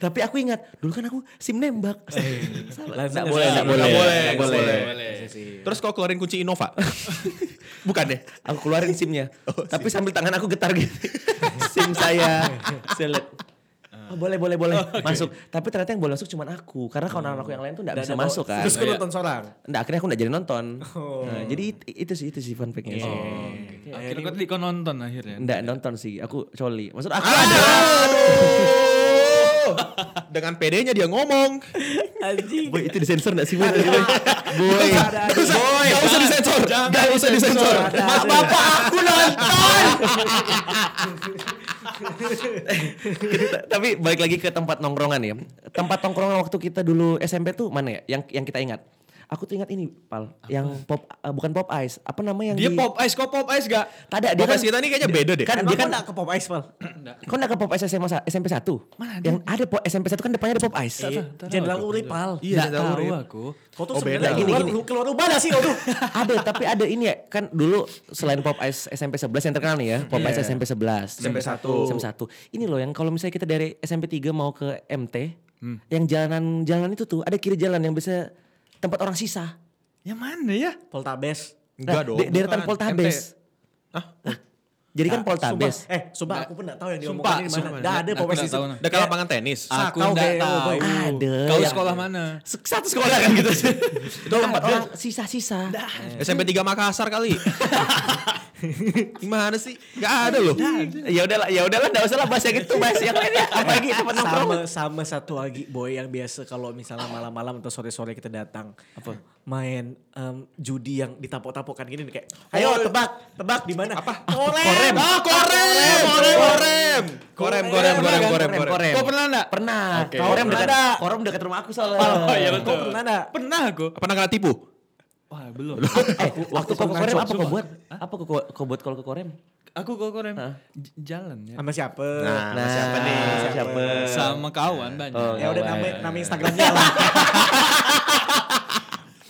Speaker 1: Tapi aku ingat, dulu kan aku SIM nembak. Salah. Nggak
Speaker 4: Langsung ke
Speaker 1: boleh,
Speaker 4: sana.
Speaker 2: Nggak
Speaker 1: nggak boleh,
Speaker 2: boleh,
Speaker 1: nggak
Speaker 2: nggak
Speaker 1: boleh.
Speaker 2: Terus kau keluarin kunci Innova. Bukan deh.
Speaker 1: Aku keluarin SIM-nya. Tapi sambil tangan aku getar gitu. SIM saya. Saya lihat. Oh, boleh boleh boleh masuk tapi ternyata yang boleh masuk cuma aku karena kawan aku yang lain tuh nggak bisa masuk kan
Speaker 4: Terus gue
Speaker 5: Iya.
Speaker 4: nonton seorang.
Speaker 1: Nggak, akhirnya aku nggak jadi nonton.
Speaker 5: Oh.
Speaker 1: Nah, jadi it- itu sih itu sih fun fact-nya sih.
Speaker 5: Akhirnya kok tadi kau nonton akhirnya.
Speaker 1: Nggak nonton sih, aku coli. Maksud aku
Speaker 5: Ah!
Speaker 2: Aduh. Dengan PD-nya dia ngomong.
Speaker 4: Anjing.
Speaker 1: Boy, itu disensor nggak sih? Boy? Boy.
Speaker 2: Gak usah, gak usah disensor. Gak usah disensor.
Speaker 4: Ada,
Speaker 2: Mas
Speaker 4: ada.
Speaker 2: bapak aku nonton.
Speaker 1: Kita- Tapi balik lagi ke tempat nongkrongan ya. Tempat nongkrongan waktu kita dulu SMP tuh mana ya? Yang yang kita ingat. Aku tuh ingat ini, Pal. Yang pop eh, bukan pop ice, apa namanya yang
Speaker 5: Dia
Speaker 1: di-
Speaker 5: pop ice, kok pop ice gak?
Speaker 1: Tak ada, dia
Speaker 2: Bapak
Speaker 1: kan-
Speaker 2: kita nih kayaknya beda deh.
Speaker 1: Kan
Speaker 4: Emang
Speaker 1: dia kan
Speaker 4: kok gak ke Pop Ice, Pal?
Speaker 1: Kau gak ke pop ice SMA, SMP 1? Yang ada po- SMP 1 kan depannya ada pop ice.
Speaker 5: tahu
Speaker 4: Jenderal
Speaker 5: aku.
Speaker 4: Urip, Pal.
Speaker 2: Iya,
Speaker 5: Nggak
Speaker 2: Jenderal
Speaker 5: tahu
Speaker 2: Urip.
Speaker 5: aku.
Speaker 4: Kau tuh
Speaker 2: Oh,
Speaker 4: sebenarnya
Speaker 1: beda.
Speaker 4: keluar,
Speaker 1: Gini, gini.
Speaker 4: keluar rumah gak sih kau tuh?
Speaker 1: ada tapi ada ini ya kan dulu selain pop ice SMP 11 yang terkenal nih ya pop ice SMP 11
Speaker 2: SMP satu.
Speaker 1: SMP 1 ini loh yang kalau misalnya kita dari SMP 3 mau ke MT yang jalanan jalanan itu tuh ada kiri jalan yang bisa tempat orang sisa
Speaker 5: Yang mana ya?
Speaker 4: Poltabes.
Speaker 2: Enggak dong.
Speaker 1: de- deretan
Speaker 2: bukan.
Speaker 1: Poltabes Nah, jadi kan Poltabes
Speaker 4: Sumpah, eh, sumpah aku pun gak tahu yang
Speaker 5: Sumpah,
Speaker 4: diomongin di mana.
Speaker 5: sumpah.
Speaker 4: Gak ada
Speaker 5: Aku
Speaker 4: Pop Ice
Speaker 5: nggak
Speaker 4: di
Speaker 5: tahu,
Speaker 4: situ.
Speaker 5: nah.
Speaker 2: Dekat lapangan tenis.
Speaker 5: Aku
Speaker 4: Sakau
Speaker 5: nggak
Speaker 4: kayak-
Speaker 5: tahu.
Speaker 1: Ada
Speaker 5: Kau
Speaker 1: yang-
Speaker 5: sekolah mana?
Speaker 1: Se- satu sekolah kan gitu Ah, oh. itu tempat orang sisa-sisa
Speaker 2: SMP 3 Makassar kali. Gimana sih? Gak ada loh.
Speaker 1: ya udahlah ya udahlah nggak usah lah bahas yang itu bahas yang lain ya apalagi tempat nongkrong
Speaker 4: sama sama satu lagi boy yang biasa kalau misalnya malam-malam atau sore-sore kita datang apa main em, judi yang ditapok-tapokan gini nih, kayak ayo tebak tebak di mana apa korem
Speaker 2: Ah, korem, korem, korem. Korem, korem, korem, korem, korem.
Speaker 5: Kau pernah nggak?
Speaker 1: Oh, pernah Oh, iya,
Speaker 2: Oke.
Speaker 1: korem dekat
Speaker 4: Ada.
Speaker 1: korem dekat rumah aku soalnya Eh,
Speaker 4: kau pernah ada
Speaker 5: Pernah aku.
Speaker 2: Pernah kena tipu?
Speaker 5: Wah belum.
Speaker 1: Eh, waktu kau ke
Speaker 4: Sumpah,
Speaker 1: Korem apa
Speaker 5: sumpah.
Speaker 1: kau buat? Apa kau kau buat kalau ke Korem?
Speaker 5: Aku kok korem. J- Jalan ya.
Speaker 4: sama siapa
Speaker 2: Nah, sama siapa nih?
Speaker 1: Siapa?
Speaker 2: Eh,
Speaker 5: Sama kawan banyak.
Speaker 1: Oh,
Speaker 4: ya udah
Speaker 1: Kawan.
Speaker 4: nama nama instagramnya lah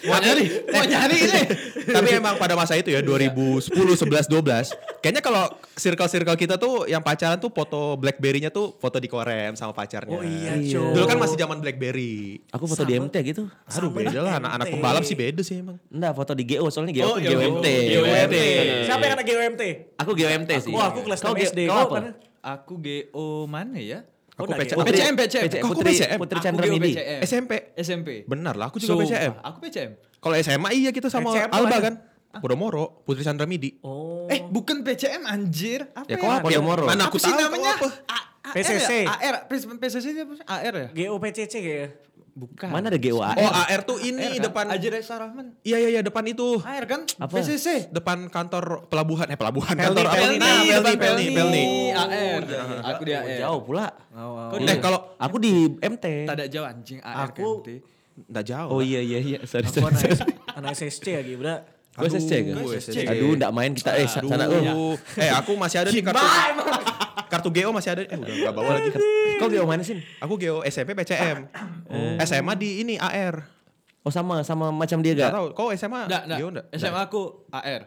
Speaker 5: Mau nyari, mau nyari ini.
Speaker 2: Tapi emang pada masa itu ya 2010, 11, 12 Kayaknya kalau circle-circle kita tuh yang pacaran tuh foto Blackberry-nya tuh foto di korem sama pacarnya
Speaker 4: oh iya
Speaker 1: Iya.
Speaker 4: Cok.
Speaker 2: Dulu kan masih zaman Blackberry
Speaker 1: Aku foto di MT gitu.
Speaker 2: Aduh
Speaker 4: Sama
Speaker 2: beda lah anak-anak
Speaker 4: MT.
Speaker 2: pembalap sih beda sih emang
Speaker 1: Enggak, foto di GO soalnya GO
Speaker 5: Oh,
Speaker 1: aku
Speaker 5: iya,
Speaker 1: GOMT.
Speaker 5: iya, iya.
Speaker 4: GWMT siapa yang ada GWMT
Speaker 1: Aku GOMT sih.
Speaker 4: Wah, aku kelas
Speaker 1: Kau
Speaker 4: 6
Speaker 1: G-
Speaker 4: SD.
Speaker 1: Kau kan?
Speaker 4: Kau
Speaker 1: apa?
Speaker 4: mana?
Speaker 5: Aku GO mana ya?
Speaker 2: Aku
Speaker 4: nggak
Speaker 2: PCM
Speaker 4: gitu.
Speaker 2: PCM
Speaker 1: PCM.
Speaker 2: Kok aku
Speaker 1: Putri,
Speaker 2: PCM?
Speaker 1: Putri
Speaker 5: Aku
Speaker 1: Chandra
Speaker 5: GO
Speaker 1: Midi.
Speaker 5: PCM.
Speaker 2: SMP
Speaker 5: SMP.
Speaker 2: Benar lah aku juga PCM
Speaker 5: Aku PCM.
Speaker 2: Kalau SMA iya kita sama
Speaker 4: PCM tuh
Speaker 2: Alba
Speaker 4: ada.
Speaker 2: kan Podomoro Putri Chandra Midi
Speaker 4: oh
Speaker 5: Eh bukan PCM anjir. Apa
Speaker 2: Ya kok apa?
Speaker 1: Podomoro.
Speaker 2: Mana
Speaker 5: Aku
Speaker 2: aku
Speaker 5: sih
Speaker 2: tahu kau
Speaker 5: namanya.
Speaker 2: apa?
Speaker 5: A- A-
Speaker 4: PCC.
Speaker 5: ya? AR, Pris- PCC itu apa sih? AR ya?
Speaker 4: GOPCC kayaknya.
Speaker 5: Bukan.
Speaker 1: Mana ada GOA?
Speaker 2: Oh AR tuh
Speaker 5: kan?
Speaker 2: ini depan.
Speaker 5: Aji Reza Rahman.
Speaker 2: Iya iya iya depan itu.
Speaker 5: AR kan?
Speaker 1: Apa?
Speaker 5: PCC.
Speaker 2: Depan kantor pelabuhan eh pelabuhan
Speaker 4: Pelni,
Speaker 2: kantor apa?
Speaker 4: Pelni,
Speaker 2: Pelni,
Speaker 5: depan
Speaker 2: Pelni, Pelni.
Speaker 5: AR. Aku di AR.
Speaker 1: Jauh pula.
Speaker 5: Kok
Speaker 2: Eh kalau
Speaker 1: Aku Oh, di MT.
Speaker 5: Tak ada jauh anjing kan, AR
Speaker 4: Aku-
Speaker 5: KMT.
Speaker 2: enggak jauh.
Speaker 1: Oh iya iya iya. Sorry
Speaker 4: Aku
Speaker 1: sorry.
Speaker 4: anak, anak SSC ya Gibra.
Speaker 1: Gue SSC kan?
Speaker 2: Aduh, SSC.
Speaker 1: Aduh enggak main kita eh
Speaker 2: Aduh.
Speaker 1: sana. Oh.
Speaker 2: Eh aku masih ada nih kartu. kartu GO masih ada. Eh udah enggak bawa lagi.
Speaker 1: Kok GOA mana sih?
Speaker 2: Aku GO SMP PCM. SMA di ini AR.
Speaker 1: Oh sama sama macam dia
Speaker 2: Enggak
Speaker 1: gak?
Speaker 2: tahu. Kau SMA?
Speaker 5: Enggak,
Speaker 2: GO
Speaker 5: enggak.
Speaker 2: enggak?
Speaker 5: SMA aku AR.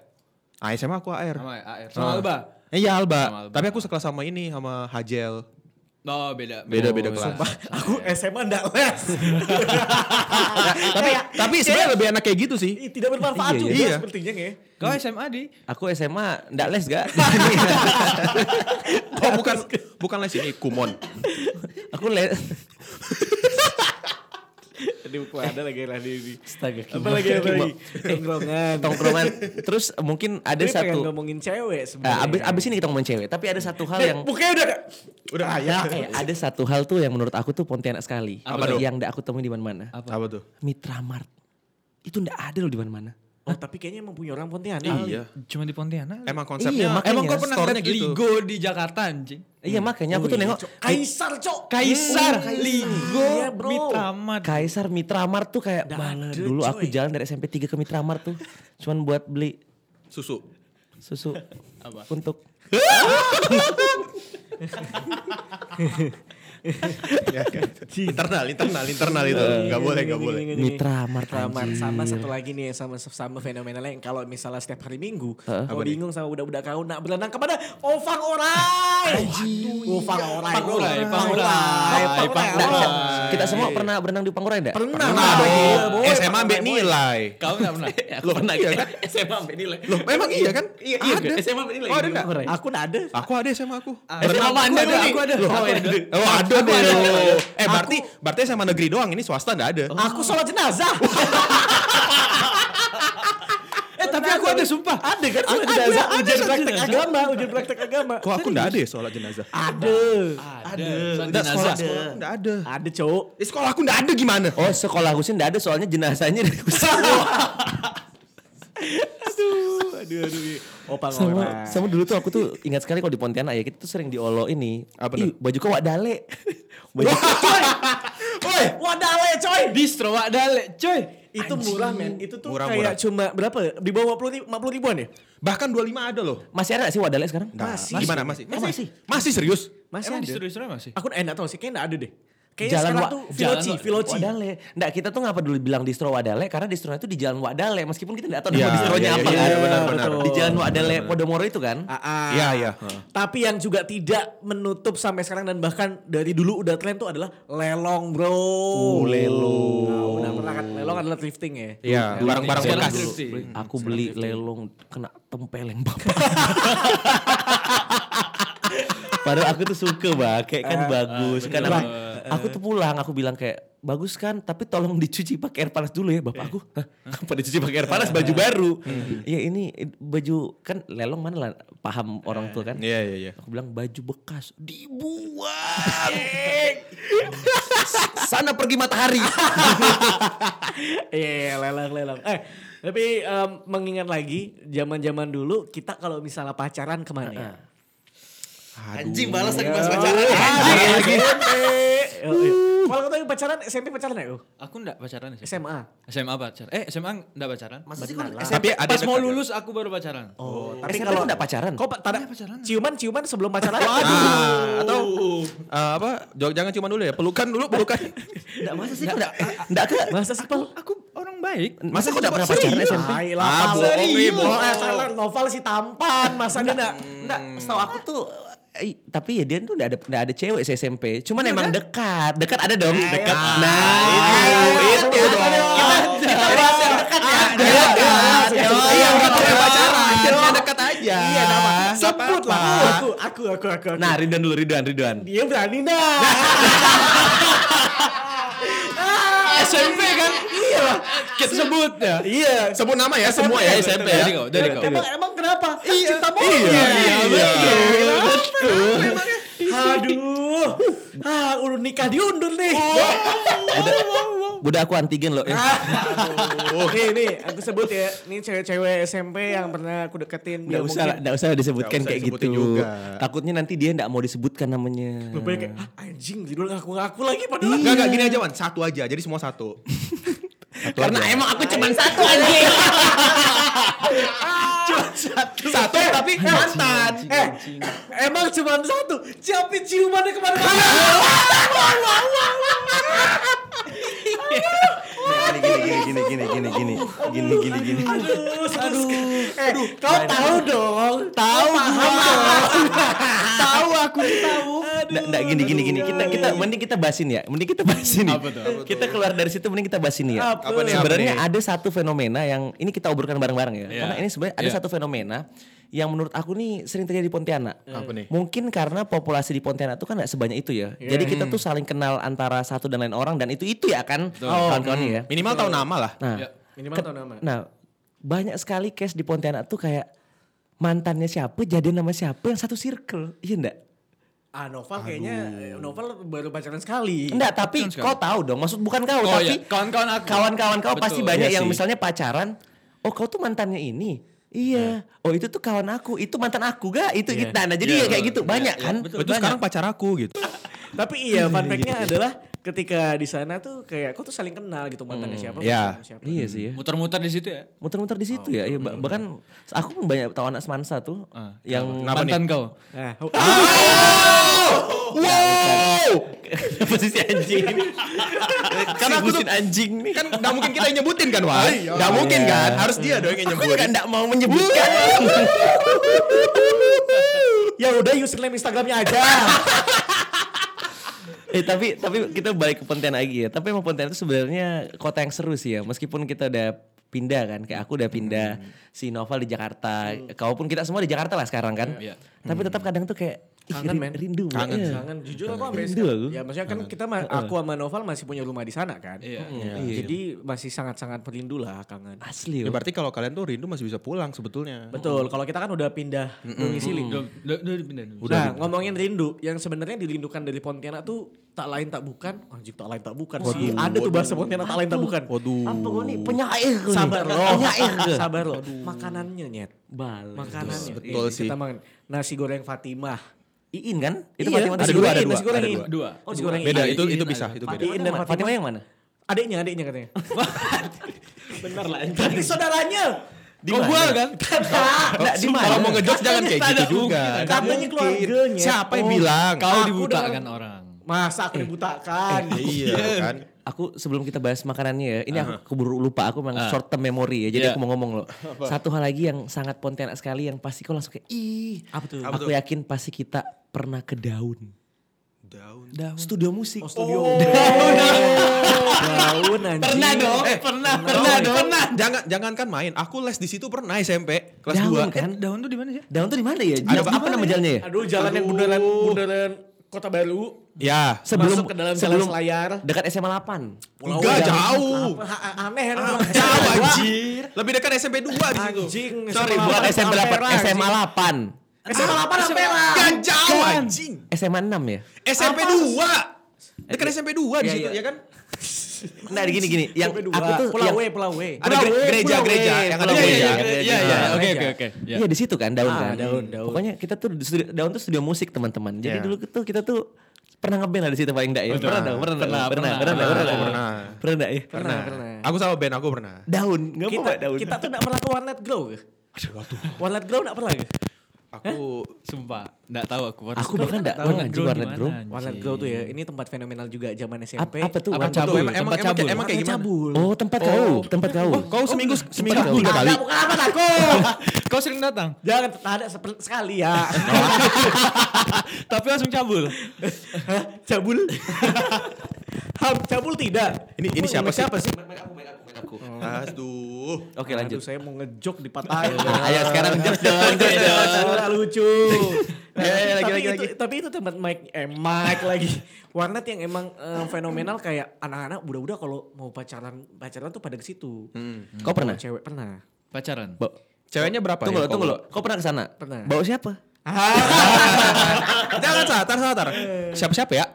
Speaker 2: Ah, SMA aku AR.
Speaker 5: Sama ya, AR. Sama Alba.
Speaker 2: Eh, Iya
Speaker 5: Sama
Speaker 2: Alba.
Speaker 5: Alba.
Speaker 2: Tapi aku sekelas sama ini sama Hajel.
Speaker 5: Oh, beda.
Speaker 2: Beda-beda
Speaker 5: Oh,
Speaker 2: kelas.
Speaker 5: sumpah.
Speaker 4: Aku SMA ndak les.
Speaker 2: tapi tapi sebenarnya lebih enak kayak gitu sih.
Speaker 4: Ih, Tidak
Speaker 1: Iya,
Speaker 4: bermanfaat juga
Speaker 2: iya.
Speaker 4: sepertinya ya.
Speaker 5: Kau SMA di?
Speaker 1: Aku SMA enggak les gak?
Speaker 2: Oh bukan bukan les ini kumon.
Speaker 1: Aku les.
Speaker 4: Di ada lagi lah di di.
Speaker 1: Astaga.
Speaker 4: Apa lagi apa lagi? Tongkrongan.
Speaker 1: Tongkrongan. Terus mungkin ada
Speaker 4: Ini pengen
Speaker 1: satu.
Speaker 4: ngomongin cewek sebenarnya.
Speaker 1: Nah, abis, abis ini kita ngomongin cewek. Tapi ada satu hal yang
Speaker 4: Bukannya Eh, udah
Speaker 2: Udah ayah.
Speaker 4: Iya.
Speaker 1: Eh, ada satu hal tuh yang menurut aku tuh Pontianak sekali.
Speaker 2: Apa tuh?
Speaker 1: Yang enggak aku temuin di mana-mana.
Speaker 5: Apa?
Speaker 2: Apa tuh?
Speaker 1: Mitra Mart. Itu enggak ada loh di mana-mana.
Speaker 4: Oh, tapi kayaknya emang punya orang Pontianak.
Speaker 2: Iya.
Speaker 5: Cuma di Pontianak.
Speaker 2: Emang konsepnya
Speaker 1: Iya, makanya.
Speaker 2: emang
Speaker 5: Emang kau pernah gitu.
Speaker 2: store-nya gitu?
Speaker 5: lihat Ligo di Jakarta anjing?
Speaker 1: Iya makanya aku tuh nengok
Speaker 4: Kaisar, Hmm. Oh, Cok.
Speaker 5: Kaisar,
Speaker 1: Oh, Kaisar.
Speaker 5: Ligo,
Speaker 4: Iya, bro.
Speaker 5: Mitramat.
Speaker 1: Kaisar Mitra Mart tuh kayak
Speaker 4: Nggak
Speaker 1: mana
Speaker 4: ada,
Speaker 1: dulu aku
Speaker 4: coy.
Speaker 1: jalan dari SMP 3 ke Mitra Mart tuh cuman buat beli
Speaker 2: Susu.
Speaker 1: susu untuk
Speaker 2: internal, internal, internal itu.
Speaker 4: Iya,
Speaker 2: Enggak boleh, enggak boleh.
Speaker 4: Gini, gini, gini.
Speaker 1: Mitra Mart.
Speaker 4: Mitra Mart.
Speaker 1: anjing.
Speaker 4: sama satu lagi nih sama sama fenomena lain kalau misalnya setiap hari Minggu kalau bingung sama budak-budak kau nak berenang kepada Ovang Orai. Waduh, iya. Ovang Orai.
Speaker 5: Pak Orai,
Speaker 4: Ovang
Speaker 5: Pak Orai,
Speaker 4: Ovang
Speaker 5: Pak
Speaker 4: Orai.
Speaker 1: Nggak,
Speaker 5: Orai.
Speaker 1: kita semua pernah berenang di Pangurai enggak?
Speaker 4: Pernah.
Speaker 2: Pernah
Speaker 4: Pak. Iya,
Speaker 2: dong.
Speaker 4: boy,
Speaker 2: SMA
Speaker 4: Pak
Speaker 2: ambil
Speaker 4: Orai, boy.
Speaker 2: nilai.
Speaker 5: Kau enggak pernah?
Speaker 2: Lo pernah iya kan?
Speaker 5: SMA sampai nilai.
Speaker 2: Loh, memang iya kan?
Speaker 5: Iya, iya.
Speaker 2: Ada.
Speaker 5: SMA sampai nilai.
Speaker 2: Oh, ada enggak?
Speaker 4: Aku nggak ada.
Speaker 2: Aku ada SMA aku.
Speaker 4: Ah.
Speaker 5: SMA
Speaker 2: Berenang.
Speaker 5: mana ada?
Speaker 2: nih.
Speaker 5: Aku ada.
Speaker 2: Loh,
Speaker 5: Aku ada.
Speaker 2: Oh, ada dong. Eh, berarti berarti SMA negeri doang ini swasta enggak ada.
Speaker 4: Aku sholat jenazah.
Speaker 5: Eh, tapi aku ada sumpah.
Speaker 4: Ada kan sholat
Speaker 5: Ada,
Speaker 4: jenazah.
Speaker 5: ada
Speaker 4: Ujian
Speaker 5: sholat
Speaker 4: praktek
Speaker 5: jenazah.
Speaker 4: agama, ujian praktek agama.
Speaker 2: Kok aku enggak ada ya sholat jenazah?
Speaker 1: Ah,
Speaker 4: Ada.
Speaker 2: Enggak
Speaker 5: Ada.
Speaker 2: sekolah,
Speaker 5: Jenazah.
Speaker 2: sekolah aku enggak ada.
Speaker 4: Ada, Cok.
Speaker 2: Eh, sekolah aku enggak ada gimana?
Speaker 1: Oh sekolah Husin enggak ada soalnya jenazahnya dari Husin.
Speaker 4: Aduh, aduh. iya. Opang
Speaker 1: sama,
Speaker 4: Orai.
Speaker 1: sama dulu tuh aku tuh ingat sekali kalau di Pontianak ya kita tuh sering diolo ini.
Speaker 2: Apa
Speaker 1: Ih,
Speaker 2: tuh?
Speaker 1: baju kau wak dale. Baju
Speaker 4: Woi, wadale coy.
Speaker 5: Distro wak dale, coy.
Speaker 4: Itu murah men, itu tuh
Speaker 2: Murah,
Speaker 4: kayak
Speaker 2: murah.
Speaker 4: cuma berapa? ya? Di bawah 50 ribu, 50 ribuan ya?
Speaker 2: Bahkan 25 ada loh.
Speaker 1: masih ada nggak sih wak dale sekarang?
Speaker 2: Nah,
Speaker 4: Masih.
Speaker 2: Gimana masih?
Speaker 4: Masih.
Speaker 2: Oh, Masih serius?
Speaker 4: Masih
Speaker 5: Emang
Speaker 4: ada.
Speaker 5: distro-distro masih?
Speaker 4: Aku enak tau sih, kayaknya gak ada deh. Kayaknya
Speaker 1: Jalan
Speaker 4: sekarang
Speaker 1: Wa-
Speaker 4: tuh Viloci,
Speaker 5: Jalan Wa-
Speaker 4: Viloci.
Speaker 1: Wadale. Nggak, kita tuh ngapa dulu bilang distro Wadale karena distronya itu di Jalan Wadale meskipun kita nggak tahu
Speaker 2: Iya,
Speaker 1: nama distronya
Speaker 2: iya,
Speaker 1: apa
Speaker 2: iya,
Speaker 1: kan.
Speaker 2: iya, benar, benar.
Speaker 1: Di Jalan Wadale Podomoro itu kan.
Speaker 4: Ah,
Speaker 2: Iya, iya.
Speaker 4: Tapi yang juga tidak menutup sampai sekarang dan bahkan dari dulu udah tren tuh adalah lelong bro.
Speaker 2: Uh,
Speaker 4: Oh, lelong. udah pernah kan lelong adalah thrifting ya.
Speaker 2: Iya, barang-barang
Speaker 5: Sekarang
Speaker 2: bekas.
Speaker 5: dulu.
Speaker 4: iya.
Speaker 1: Aku beli lelong kena tempeleng bapak. Padahal aku tuh suka bah,
Speaker 2: Eh,
Speaker 1: kayak kan bagus. Kan
Speaker 5: bener.
Speaker 1: aku,
Speaker 4: Iya.
Speaker 1: aku tuh pulang, aku bilang kayak bagus kan, tapi tolong dicuci pakai air panas dulu ya bapak aku.
Speaker 4: Iya.
Speaker 1: "Hah, Apa dicuci pakai air panas baju baru? Ya ini eh, baju kan lelong mana lah paham orang tua kan?
Speaker 2: Iya, iya, iya.
Speaker 1: Aku bilang baju bekas dibuang. Sana pergi matahari.
Speaker 4: Iya, lelang, lelang. Eh, tapi em, mengingat lagi zaman-zaman dulu kita kalau misalnya pacaran kemana ya? Iya.
Speaker 1: Anjing balas lagi
Speaker 4: Mas pacaran lagi. iya, Kalau kau tadi pacaran SMP pacaran ya? oh?
Speaker 5: Aku enggak pacaran sih.
Speaker 4: SMA.
Speaker 5: SMA pacaran. Eh, SMA enggak pacaran.
Speaker 2: Ah, Tapi ada
Speaker 5: Pas
Speaker 2: yang
Speaker 5: mau
Speaker 2: dekat.
Speaker 5: lulus aku baru pacaran.
Speaker 4: Oh,
Speaker 1: Tapi kalau enggak pacaran.
Speaker 4: Kok pa- tada,
Speaker 5: pacaran.
Speaker 4: ciuman-ciuman sebelum pacaran?
Speaker 2: Ah, atau eh, apa? Jog- Jangan cuma dulu ya, pelukan dulu, pelukan.
Speaker 1: Enggak masa sih kok enggak enggak ke
Speaker 4: Masa sih Pal?
Speaker 5: Aku orang baik.
Speaker 1: masa kok enggak pernah pacaran
Speaker 2: Serius?
Speaker 1: SMP?
Speaker 4: Tai
Speaker 2: Ah,
Speaker 4: lah, Pal.
Speaker 2: bohong nih,
Speaker 4: Serius.
Speaker 2: bohong.
Speaker 4: Eh, salah, Novel si tampan, masa dia enggak?
Speaker 1: Enggak, setahu aku tuh eh, tapi ya dia tuh enggak ada enggak ada cewek sih SMP. Cuman emang dekat. Dekat ada dong. Dekat. Nah,
Speaker 4: iya.
Speaker 2: Ah, itu, itu dong.
Speaker 1: kita bahas yang dekat ya.
Speaker 2: Iya, iya, nggak perlu pacaran. Yang dekat aja. Iya, nama.
Speaker 4: Sebut lah.
Speaker 2: Ah.
Speaker 4: Aku, aku, aku, aku. aku.
Speaker 1: Nah, Ridwan dulu, Ridwan, Ridwan.
Speaker 4: dia berani nah.
Speaker 5: SMP kan? Iya. Kita sebut ya.
Speaker 4: Iya.
Speaker 2: Sebut nama ya semua ya SMP ya.
Speaker 5: Dari kau, dari kau.
Speaker 4: Emang emang kenapa? Kan Iya. Cinta monyet.
Speaker 2: Iya, iya,
Speaker 4: Iya.
Speaker 2: iya.
Speaker 4: Kenapa emangnya? Aduh. Ah, udah nikah diundur nih.
Speaker 1: Udah aku antigen loh. Eh,
Speaker 4: nih nih aku sebut ya ini cewek-cewek SMP yang pernah aku deketin
Speaker 1: Nggak
Speaker 4: Ya,
Speaker 1: usah,
Speaker 4: mungkin
Speaker 1: nggak usah disebutkan
Speaker 2: Nggak usah
Speaker 1: kayak gitu.
Speaker 2: disebutin juga.
Speaker 1: Takutnya nanti dia nggak mau disebutkan namanya.
Speaker 4: lebih kayak "Hah, anjing judul ngaku-ngaku lagi padahal
Speaker 2: Enggak, enggak gini aja Wan, satu aja. Jadi semua satu. Satu
Speaker 1: Karena
Speaker 2: aja.
Speaker 1: emang aku cuman satu anjing.
Speaker 2: satu tapi mantan.
Speaker 4: eh emang cuma satu siapin ciumannya kemana-mana
Speaker 1: Gini gini gini gini gini gini gini gini gini.
Speaker 4: aduh aduh eh kau tahu dong tahu
Speaker 5: tahu aku nih tahu.
Speaker 1: Nggak, nggak, gini gini gini kita kita mending kita bahasin ya mending kita bahasin nih. kita keluar dari situ mending kita bahasin nih ya
Speaker 4: Apa tuh? Apa nih, apa
Speaker 1: sebenarnya
Speaker 2: nih?
Speaker 1: ada satu fenomena yang ini kita obrolkan bareng-bareng ya karena ini sebenarnya ada
Speaker 5: Iya.
Speaker 1: satu fenomena yang menurut aku nih sering terjadi di Pontianak
Speaker 2: Apa nih?
Speaker 1: mungkin karena populasi di Pontianak itu kan nggak sebanyak itu ya jadi kita tuh saling kenal antara satu dan lain orang dan itu itu ya kan kawan-kawan ya
Speaker 2: Minimal tahu nama lah.
Speaker 1: nah
Speaker 5: Ya.
Speaker 4: minimal tahu nama
Speaker 1: Nah, banyak sekali case di Pontianak tuh kayak mantannya siapa, jadian sama siapa yang satu circle. Iya enggak?
Speaker 4: ah Noval kayaknya Noval baru pacaran sekali
Speaker 1: Enggak, tapi
Speaker 5: Iya, sekali.
Speaker 1: kau tahu dong. Maksud bukan kau,
Speaker 5: Oh,
Speaker 1: tapi
Speaker 5: iya. Kawan-kawan aku.
Speaker 1: Kawan-kawan kau pasti
Speaker 5: Betul.
Speaker 1: banyak
Speaker 2: Iya
Speaker 1: yang
Speaker 2: sih.
Speaker 1: misalnya pacaran, oh kau tuh mantannya ini. Iya. Oh, itu tuh kawan aku. Itu mantan aku gak? Itu gitu. Nah, nah, jadi
Speaker 5: Iya,
Speaker 1: ya kayak gitu
Speaker 5: iya,
Speaker 1: banyak
Speaker 5: iya,
Speaker 1: kan?
Speaker 5: betul.
Speaker 2: Itu
Speaker 5: banyak.
Speaker 2: sekarang pacar aku gitu.
Speaker 4: tapi iya fun fact-nya adalah ketika di sana tuh kayak kau tuh saling kenal gitu mantannya siapa
Speaker 2: ya.
Speaker 4: mantannya siapa
Speaker 1: Iya sih ya.
Speaker 5: Muter-muter di situ ya.
Speaker 1: Muter-muter di situ ya. Iya, bah- bahkan aku pun banyak tahu anak semansa tuh
Speaker 5: Ah,
Speaker 1: yang
Speaker 2: Kenapa nih?
Speaker 5: Mantan kau.
Speaker 4: Nah,
Speaker 2: Oh!
Speaker 1: Wow! Posisi anjing ini. Karena aku tuh anjing nih.
Speaker 2: Kan nggak mungkin kita yang nyebutin kan Wan? Nggak mungkin
Speaker 1: Iya.
Speaker 2: kan? Harus dia dong yang
Speaker 1: Aku
Speaker 2: nyebutin.
Speaker 1: juga enggak mau menyebutkan.
Speaker 4: ya udah username Instagramnya aja
Speaker 1: eh tapi tapi kita balik ke Pontianak lagi ya. Tapi emang Pontianak itu sebenarnya kota yang seru sih ya. Meskipun kita udah pindah kan, kayak aku udah pindah, si Noval di Jakarta, kau pun kita semua di Jakarta lah sekarang kan.
Speaker 5: Iya.
Speaker 1: Tapi tetap kadang tuh kayak ih,
Speaker 4: Kangen,
Speaker 1: rin-
Speaker 4: men.
Speaker 1: rindu Mbak.
Speaker 2: Kangen.
Speaker 1: Iya.
Speaker 4: Jangan jujur aku sampai
Speaker 1: Rindu
Speaker 4: sekarang-
Speaker 1: aku.
Speaker 4: Ya maksudnya kan kita ma- aku sama Noval masih punya rumah di sana kan.
Speaker 5: Iya.
Speaker 4: Jadi masih sangat-sangat merindu lah kangen.
Speaker 1: Asli.
Speaker 2: Ya
Speaker 1: Mbak.
Speaker 2: berarti kalau kalian tuh rindu masih bisa pulang sebetulnya.
Speaker 4: Betul, kalau kita kan udah pindah domisili.
Speaker 5: Udah, udah, udah pindah dulu.
Speaker 4: Udah nah, ngomongin rindu, yang sebenarnya dirindukan dari Pontianak tuh tak lain tak bukan, anjing tak lain tak bukan sih. Ada tuh bahasa Pontianak tak lain tak bukan.
Speaker 2: Waduh.
Speaker 1: Apa kau nih penyair kau nih?
Speaker 4: Sabar loh,
Speaker 1: Penyair kau.
Speaker 4: sabar loh. Makanannya nyet,
Speaker 1: Balik.
Speaker 4: makanannya.
Speaker 2: betul
Speaker 4: Ini
Speaker 2: sih.
Speaker 4: kita makan nasi goreng Fatimah.
Speaker 1: Iin kan? Itu
Speaker 4: Iya,
Speaker 1: Fatimah
Speaker 4: nasi
Speaker 2: ada dua,
Speaker 4: goreng,
Speaker 2: ada dua,
Speaker 4: nasi goreng.
Speaker 2: ada
Speaker 4: Iin.
Speaker 5: dua.
Speaker 4: Oh, nasi goreng.
Speaker 2: Beda
Speaker 1: Iya,
Speaker 4: Iin.
Speaker 2: itu itu
Speaker 5: Iin
Speaker 2: bisa,
Speaker 5: ada.
Speaker 2: itu beda.
Speaker 1: Fatimah
Speaker 4: Iin
Speaker 1: dan
Speaker 4: dan
Speaker 1: Fatimah.
Speaker 4: Fatimah
Speaker 1: yang mana?
Speaker 4: Adiknya, adiknya katanya.
Speaker 5: Bener lah.
Speaker 4: Berarti saudaranya.
Speaker 1: Di
Speaker 5: Kok
Speaker 1: mana?
Speaker 5: gua kan?
Speaker 4: Kagak.
Speaker 1: Nggak, di
Speaker 2: Sumpah,
Speaker 1: mana?
Speaker 2: Kalau mau ngejokes jangan kayak gitu
Speaker 5: Katanya tak ada
Speaker 2: juga.
Speaker 5: mungkin,
Speaker 2: Nggak
Speaker 4: katanya
Speaker 2: mungkin.
Speaker 4: keluarganya.
Speaker 2: Siapa yang Eh.
Speaker 4: Oh.
Speaker 2: bilang?
Speaker 5: Kau
Speaker 4: Aku
Speaker 5: dibutakan
Speaker 4: udah-
Speaker 5: kan orang.
Speaker 4: Masa aku dibutakan?
Speaker 2: Iya kan.
Speaker 1: Aku sebelum kita bahas makanannya ya, ini aku keburu lupa, aku
Speaker 4: Ah.
Speaker 1: memang short term memory ya, jadi
Speaker 5: Iya.
Speaker 1: aku mau ngomong loh. Satu hal lagi yang sangat Pontianak sekali yang pasti kau langsung kayak ih.
Speaker 4: Apa tuh?
Speaker 1: aku yakin pasti kita pernah ke daun.
Speaker 2: Daun.
Speaker 1: Studio musik.
Speaker 4: Oh, studio. Daun. Daun anjing.
Speaker 5: Pernah dong.
Speaker 2: Eh,
Speaker 5: pernah,
Speaker 2: Pernah
Speaker 5: pernah dong.
Speaker 2: Jangan jangan kan main. Aku les di situ pernah SMP kelas 2.
Speaker 1: daun kan?
Speaker 5: Eh, Daun tuh di mana sih?
Speaker 1: Daun tuh di mana ya?
Speaker 2: Ada
Speaker 1: Apa,
Speaker 2: apa-
Speaker 1: apa nama jalannya ya?
Speaker 4: Eh, Aduh, jalan yang bundaran bundaran Kota Baru.
Speaker 2: Ya.
Speaker 1: Sebelum
Speaker 4: masuk ke dalam
Speaker 1: sebelum
Speaker 4: jalan selayar.
Speaker 1: dekat SMA 8.
Speaker 4: Pulau
Speaker 2: Enggak
Speaker 4: Jawa.
Speaker 2: jauh.
Speaker 4: Apa, a- Aneh kan emang.
Speaker 2: Ah, Jauh anjir. Lebih dekat SMP 2 di situ.
Speaker 4: Anjing.
Speaker 1: Sorry,
Speaker 4: SMA
Speaker 1: bukan
Speaker 4: 8,
Speaker 1: SMA 8,
Speaker 4: Ampera,
Speaker 1: SMA
Speaker 4: anjing.
Speaker 1: 8.
Speaker 5: Ah,
Speaker 4: SMA 8 Ampera.
Speaker 2: Ah, Enggak jauh
Speaker 5: Kan?
Speaker 2: anjing.
Speaker 1: SMA 6 ya?
Speaker 2: SMP 2. Dekat SMP 2 di
Speaker 1: Iya,
Speaker 2: situ
Speaker 1: iya.
Speaker 2: ya kan?
Speaker 1: Nah gini gini, yang
Speaker 4: Kedua,
Speaker 1: aku tuh
Speaker 4: Pulau
Speaker 1: yang-
Speaker 4: W, Pulau W.
Speaker 2: Ada
Speaker 1: Pulau
Speaker 2: gere-
Speaker 1: W, Pulau W,
Speaker 2: gereja-gereja yang ada
Speaker 1: Pulau W,
Speaker 2: gereja.
Speaker 1: iya, gereja.
Speaker 5: Iya, iya. Oke, oke, oke. Ya.
Speaker 1: Iya di situ kan daun
Speaker 4: Ah,
Speaker 1: kan.
Speaker 4: daun, daun.
Speaker 1: Pokoknya kita tuh di studio, daun tuh studio musik teman-teman. Jadi dulu tuh kita tuh pernah ngeband lah di situ paling enggak ya. Pernah dong, pernah pernah pernah pernah pernah pernah,
Speaker 2: pernah.
Speaker 1: pernah enggak ya?
Speaker 4: Pernah, pernah.
Speaker 2: Aku sama Ben aku pernah.
Speaker 1: Daun, enggak
Speaker 4: Kita
Speaker 1: apa daun.
Speaker 4: kita tuh enggak pernah ke Warnet Grow. ya.
Speaker 2: Aduh, aduh.
Speaker 4: Warnet Grow enggak pernah. ya? gak?
Speaker 2: Aku
Speaker 5: Sumpah, enggak tahu aku. warnet
Speaker 1: Aku
Speaker 5: grow.
Speaker 1: bahkan nggak
Speaker 5: Tahu
Speaker 1: tahu anjing
Speaker 5: grow
Speaker 1: warnet
Speaker 5: di
Speaker 1: grow.
Speaker 5: mana, anjing.
Speaker 4: Warnet Grow tuh ya, ini tempat fenomenal juga zaman
Speaker 1: Ap-
Speaker 4: SMP.
Speaker 1: apa tuh?
Speaker 5: Apa
Speaker 1: Warnet
Speaker 5: cabul?
Speaker 1: Grow?
Speaker 2: Emang- emang-
Speaker 5: Tempat
Speaker 2: emang-
Speaker 5: cabul.
Speaker 2: emang- kayak
Speaker 4: Warnet
Speaker 2: gimana?
Speaker 4: cabul.
Speaker 1: Oh tempat kau, tempat kau.
Speaker 4: Oh,
Speaker 2: Wah, kau seminggu seminggu
Speaker 1: kau.
Speaker 2: udah kali.
Speaker 4: Ada bukan apa aku.
Speaker 5: Kau sering datang,
Speaker 4: Jangan ada sep- sekali ya.
Speaker 5: tapi langsung cabul.
Speaker 4: Hah? cabul. Ham cabul tidak.
Speaker 2: Ini- ini
Speaker 4: Oh,
Speaker 2: siapa sih?
Speaker 4: Siapa sih?
Speaker 2: Aduh.
Speaker 1: Oke lanjut.
Speaker 4: Aduh, saya mau ngejok ya. dipatahin.
Speaker 1: Ayo sekarang jokes dong, jokes dong.
Speaker 4: Sudah lucu. Nah,
Speaker 1: Ya, ya, lagi,
Speaker 4: tapi,
Speaker 1: lagi,
Speaker 4: itu, tapi itu tempat Mike, eh Mike lagi. Warnet yang emang eh, fenomenal kayak anak-anak budak-budak kalau mau pacaran pacaran tuh pada ke situ.
Speaker 1: Kau Hmm. pernah?
Speaker 4: Cewek pernah.
Speaker 5: Pacaran.
Speaker 1: Ba-
Speaker 2: Ceweknya berapa
Speaker 1: Tunggu
Speaker 2: ya?
Speaker 1: lo, tunggu
Speaker 2: kalau-
Speaker 1: lo. Kau pernah ke sana?
Speaker 4: Pernah.
Speaker 1: Bawa siapa?
Speaker 2: Jangan satar satar. Siapa-siapa ya?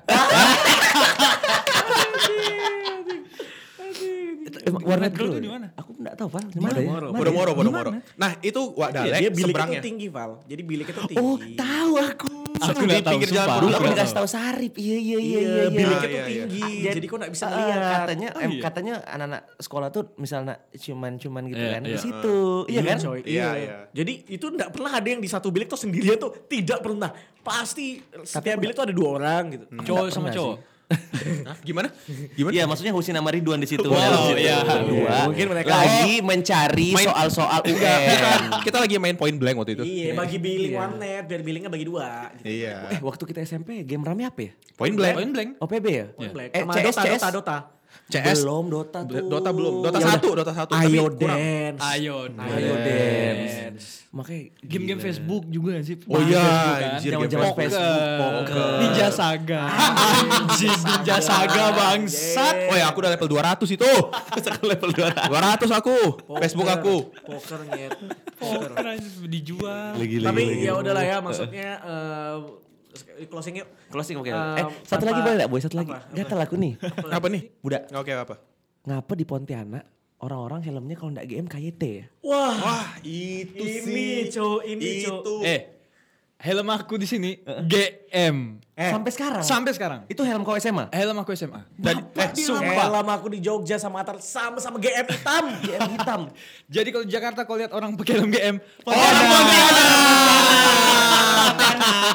Speaker 1: Warnet Girl
Speaker 5: Girl tuh
Speaker 1: ya?
Speaker 5: di mana?
Speaker 1: Aku nggak tahu, Pak. Di mana ya?
Speaker 4: Moro.
Speaker 2: Bodo moro, bodo
Speaker 5: Gimana?
Speaker 2: moro. Nah itu
Speaker 4: Iya,
Speaker 2: Wadalek
Speaker 4: dia bilik itu
Speaker 2: seberangnya.
Speaker 4: tinggi Val. Jadi bilik itu tinggi.
Speaker 1: Oh, tahu aku.
Speaker 5: Aku
Speaker 2: Di
Speaker 5: nggak tahu,
Speaker 2: pinggir jalan
Speaker 5: sumpah.
Speaker 1: Dulu
Speaker 2: Aku
Speaker 1: aku
Speaker 2: nggak
Speaker 1: dikasih tahu Sarip. Iya, iya, iya, iya.
Speaker 4: Iya, bilik
Speaker 2: Ah,
Speaker 4: itu
Speaker 2: iya, iya.
Speaker 4: tinggi.
Speaker 1: Ah,
Speaker 4: Jadi kok nggak bisa
Speaker 1: Ah,
Speaker 4: lihat.
Speaker 1: katanya
Speaker 5: Oh,
Speaker 1: em,
Speaker 5: iya.
Speaker 1: katanya anak-anak sekolah tuh misalnya cuman-cuman gitu
Speaker 5: Iya,
Speaker 1: kan
Speaker 5: iya.
Speaker 1: di situ. Iya kan?
Speaker 4: coy.
Speaker 2: Iya,
Speaker 4: Iya,
Speaker 2: iya.
Speaker 4: Jadi itu enggak pernah ada yang di satu bilik tuh sendirian tuh, tidak pernah. Pasti setiap bilik tuh ada dua orang gitu.
Speaker 2: Hmm.
Speaker 5: Cowok
Speaker 1: Nggak
Speaker 5: sama
Speaker 1: pernah
Speaker 5: cowok.
Speaker 2: Hah, Gimana? Gimana?
Speaker 1: Iya, maksudnya Husin sama Ridwan di situ.
Speaker 5: Wow,
Speaker 1: dalam situ.
Speaker 5: iya.
Speaker 1: Dua.
Speaker 4: Mungkin mereka-
Speaker 1: lagi mencari
Speaker 2: Main-
Speaker 1: soal-soal
Speaker 2: Enggak, bukan.
Speaker 1: UN.
Speaker 2: Iya, Kita lagi main point blank waktu itu.
Speaker 4: Iya, bagi bilik warnet biar biliknya bagi dua gitu.
Speaker 1: eh,
Speaker 2: Iya.
Speaker 1: waktu kita SMP game rame apa ya?
Speaker 2: Point
Speaker 5: Point
Speaker 2: blank.
Speaker 5: blank.
Speaker 1: OPB ya?
Speaker 4: Black.
Speaker 1: Eh,
Speaker 4: Sama
Speaker 1: CS,
Speaker 4: Dota,
Speaker 1: CS.
Speaker 4: Dota, Dota.
Speaker 2: CS.
Speaker 1: Belum Dota tuh.
Speaker 2: Dota belum. Dota
Speaker 1: Ya udah.
Speaker 2: satu, Dota satu. tapi
Speaker 4: Ayo
Speaker 2: kurang.
Speaker 4: dance.
Speaker 5: Ayo,
Speaker 4: Ayo
Speaker 5: dance.
Speaker 4: dance.
Speaker 1: Makanya
Speaker 5: Game-game
Speaker 1: gila.
Speaker 5: Facebook juga sih.
Speaker 2: Oh
Speaker 5: Main
Speaker 2: iya,
Speaker 5: Facebook kan.
Speaker 2: anjir,
Speaker 5: Zaman-zaman
Speaker 1: game
Speaker 5: poker.
Speaker 1: Facebook, poker.
Speaker 5: Ninja Saga.
Speaker 2: Ah.
Speaker 5: Anjing Ninja Saga bangsat.
Speaker 2: Oh ya aku udah level 200 itu. Sekarang level 200. 200 aku. Facebook aku.
Speaker 4: Poker nyet. Poker.
Speaker 5: Poker anjir, dijual.
Speaker 4: Tapi ya udahlah ya maksudnya eh, closing yuk.
Speaker 1: Closing oke.
Speaker 4: Um,
Speaker 1: eh, satu
Speaker 4: tanpa-
Speaker 1: lagi boleh enggak, Boy? Satu lagi.
Speaker 4: Apa?
Speaker 1: Gatel aku nih.
Speaker 2: Apa nih?
Speaker 1: Budak.
Speaker 2: Oke apa?
Speaker 1: Ngapa di Pontianak orang-orang helmnya kalau enggak GM KYT ya?
Speaker 4: Wah,
Speaker 2: Wah itu
Speaker 4: ini cow, ini cow.
Speaker 2: Itu.
Speaker 5: Eh, helm aku di sini GM.
Speaker 1: Sampai sekarang.
Speaker 5: Sampai sekarang.
Speaker 1: Itu helm kau SMA?
Speaker 5: Helm aku SMA.
Speaker 2: Dan eh,
Speaker 4: Sumpah. lama aku di Jogja sama Atar sama-sama GM hitam.
Speaker 1: GM hitam.
Speaker 5: Jadi kalau di Jakarta kau lihat orang pakai helm GM,
Speaker 2: Orang Pontianak.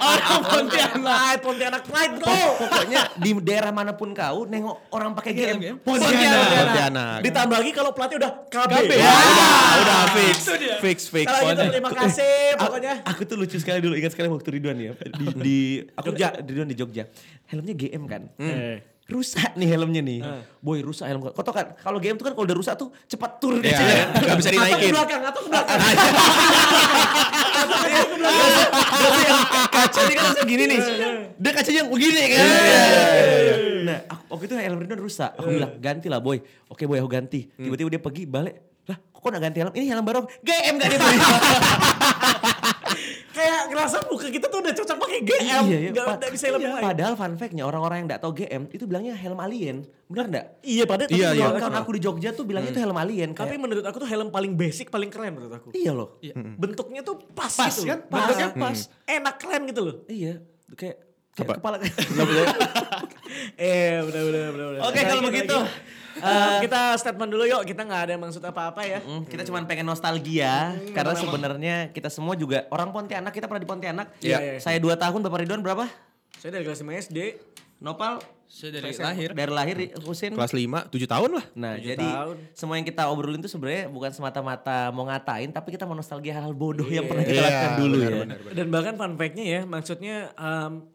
Speaker 5: Orang Pontianak.
Speaker 4: Pride, Pontianak Pride bro.
Speaker 1: Pokoknya di daerah manapun kau nengok orang pakai
Speaker 5: Iya,
Speaker 1: GM.
Speaker 5: GM.
Speaker 2: Pontianak.
Speaker 4: Ditambah lagi kalau pelatih udah KB.
Speaker 5: KB.
Speaker 4: Ya.
Speaker 2: Ah, udah fix. Fix fix.
Speaker 4: Kalau gitu
Speaker 5: Pontianak.
Speaker 4: terima kasih pokoknya.
Speaker 1: Aku tuh lucu sekali dulu ingat sekali waktu Ridwan ya di, di aku Jogja Ridwan di Jogja helmnya GM kan rusak nih helmnya nih boy rusak helm kau tau kan kalau GM tuh kan kalau udah rusak tuh cepat tur
Speaker 2: Iya,
Speaker 1: gitu
Speaker 2: iya. Nggak bisa dinaikin.
Speaker 4: Atau ke belakang, atau ke belakang.
Speaker 1: Berarti yang kacanya kan langsung gini nih. Dia kacanya yang begini kan. Nah, aku, waktu itu helm Ridwan rusak. Aku bilang, ganti lah boy. Oke boy, aku ganti. Tiba-tiba dia pergi, balik. Lah, kok gak ganti helm? Ini helm baru. GM gak dibeli.
Speaker 4: Kayak ngerasa muka kita tuh udah cocok pakai GM. Iya, Nggak
Speaker 1: Pad-
Speaker 4: nggak bisa lebih
Speaker 1: iya.
Speaker 4: lain.
Speaker 1: Padahal fun fact-nya orang-orang yang gak tau GM itu bilangnya helm alien. Bener gak?
Speaker 4: Iya padahal tapi
Speaker 2: Iya, Hmm.
Speaker 4: menurut
Speaker 2: iya.
Speaker 4: aku-
Speaker 1: Kawan aku di Jogja tuh bilangnya itu helm alien.
Speaker 4: Tapi
Speaker 1: Kayak,
Speaker 4: menurut aku tuh helm paling basic, paling keren menurut aku.
Speaker 1: iya loh.
Speaker 4: Bentuknya tuh pas,
Speaker 5: Pas
Speaker 4: gitu.
Speaker 5: kan?
Speaker 4: loh.
Speaker 5: Bentuknya pas.
Speaker 4: Enak keren gitu loh.
Speaker 1: Iya, kayak,
Speaker 2: Apa?
Speaker 1: kayak kepala.
Speaker 4: Eh, udah, udah, udah, udah.
Speaker 1: Oke, kalau begitu,
Speaker 4: eh, kita statement dulu yuk. Kita nggak ada maksud apa-apa ya.
Speaker 1: Mm, kita cuman pengen nostalgia
Speaker 4: Hmm.
Speaker 1: karena sebenarnya kita semua juga orang Pontianak kita pernah di Pontianak.
Speaker 4: Iya, iya.
Speaker 1: Saya dua tahun Bapak Ridwan berapa?
Speaker 4: Saya dari kelas 5 SD.
Speaker 1: Nopal
Speaker 5: Saya dari
Speaker 4: Saya
Speaker 5: lahir.
Speaker 1: dari lahir Husin.
Speaker 2: Kelas 5, 7 tahun lah.
Speaker 1: Nah,
Speaker 4: Tujuh
Speaker 1: jadi
Speaker 4: tahun.
Speaker 1: semua yang kita obrolin itu sebenarnya bukan semata-mata mau ngatain tapi kita mau nostalgia hal-hal bodoh yang pernah kita
Speaker 2: Iya,
Speaker 1: lakukan dulu
Speaker 2: benar,
Speaker 1: ya.
Speaker 4: Dan bahkan fun fact-nya ya, maksudnya em,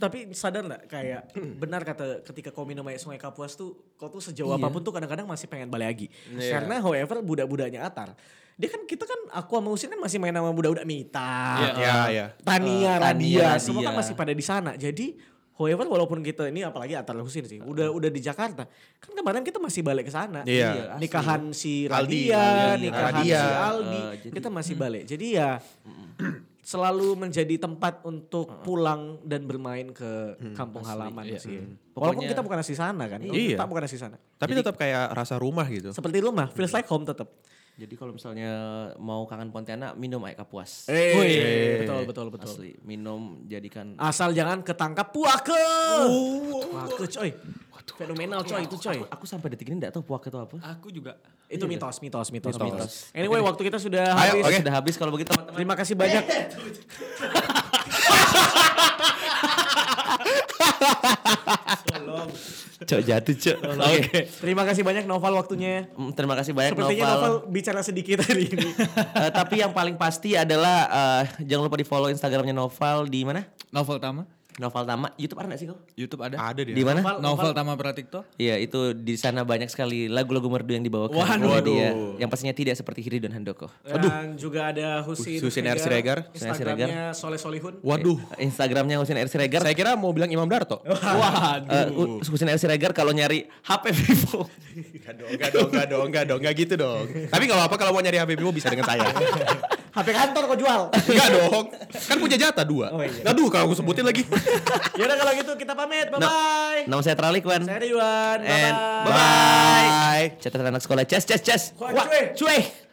Speaker 4: tapi sadar nggak kayak benar kata ketika kau minum air sungai Kapuas tuh kau tuh sejauh apapun tuh kadang-kadang masih pengen balik lagi. Karena however budak-budaknya Atar, dia kan kita kan aku sama Usin kan masih main sama budak-budak Mita.
Speaker 5: Iya.
Speaker 2: Ya ya.
Speaker 4: Tania,
Speaker 1: Eh,
Speaker 4: Radia,
Speaker 1: Tania,
Speaker 4: semua kan
Speaker 1: Radia.
Speaker 4: masih pada di sana. Jadi however walaupun kita ini apalagi Atar Husin sih, udah udah di Jakarta. Kan kemarin kita masih balik ke sana.
Speaker 2: Iya.
Speaker 1: asli.
Speaker 4: Nikahan si
Speaker 2: Aldi,
Speaker 4: Radia,
Speaker 2: Aldi,
Speaker 4: nikahan
Speaker 2: Radia.
Speaker 4: si Aldi,
Speaker 1: Eh, jadi-
Speaker 4: kita masih balik. Jadi ya selalu menjadi tempat untuk pulang dan bermain ke kampung halaman sih. Walaupun
Speaker 1: Pokoknya-
Speaker 4: kita bukan asli sana kan.
Speaker 2: Iya.
Speaker 4: Kita bukan asli sana.
Speaker 2: Tapi tetap kayak rasa rumah gitu.
Speaker 4: Seperti rumah, feels like home tetap.
Speaker 1: Jadi kalau misalnya mau kangen Pontianak minum air kapuas.
Speaker 4: Eh,
Speaker 5: Woi.
Speaker 1: iya.
Speaker 4: betul betul betul.
Speaker 1: Asli, minum jadikan
Speaker 4: Asal jangan ketangkap puake.
Speaker 2: Uh.
Speaker 4: Puake coy. Fenomenal coy itu coy.
Speaker 1: Aku sampai detik ini enggak tahu puak itu apa.
Speaker 5: Aku juga.
Speaker 4: Itu mitos, mitos, mitos,
Speaker 1: Mitos.
Speaker 4: mitos. Anyway, waktu kita sudah
Speaker 1: Ayo,
Speaker 4: habis.
Speaker 1: oke. sudah habis kalau begitu teman-teman.
Speaker 4: Terima kasih banyak.
Speaker 1: Cok jatuh, Cok. Oke.
Speaker 4: Terima kasih banyak Noval waktunya.
Speaker 1: Mm, Terima kasih banyak
Speaker 4: Sepertinya Noval bicara sedikit hari ini.
Speaker 1: Eh, tapi yang paling pasti adalah eh, jangan lupa di follow Instagramnya Noval di mana?
Speaker 5: Novel Tama.
Speaker 1: Noval Tama. YouTube ada nggak sih kok?
Speaker 5: YouTube ada.
Speaker 2: Ada dia.
Speaker 1: Di mana?
Speaker 4: Noval-
Speaker 5: Novel Tama Pratikto.
Speaker 1: Iya itu di sana banyak sekali lagu-lagu merdu yang dibawakan.
Speaker 5: Waduh.
Speaker 1: oleh dia. Yang pastinya tidak seperti Hiri dan Handoko.
Speaker 4: Dan juga ada Husin,
Speaker 2: Husin R. Siregar.
Speaker 1: Husin R. Siregar.
Speaker 4: Instagramnya Soleh Solihun.
Speaker 2: Waduh.
Speaker 1: Instagramnya Husin R Siregar.
Speaker 2: Saya kira mau bilang Imam Darto.
Speaker 5: Waduh.
Speaker 1: Eh, Hu- Husin R Siregar kalau nyari HP Vivo.
Speaker 2: Enggak dong, enggak dong, enggak dong, enggak gitu dong. Tapi kalau apa kalau mau nyari HP Bimo bisa dengan saya.
Speaker 4: HP kantor kau jual.
Speaker 2: Enggak dong. Kan punya jatah dua.
Speaker 4: Oh, iya.
Speaker 2: Aduh kalau aku sebutin lagi.
Speaker 4: Yaudah kalau gitu kita pamit. Bye-bye.
Speaker 1: Nama saya Tralik, Wan.
Speaker 4: Saya Ridwan.
Speaker 1: And
Speaker 4: Bye-bye.
Speaker 1: bye-bye. Catatan anak sekolah. Ces, ces, ces.
Speaker 4: Wah, cuy.
Speaker 1: Cuy.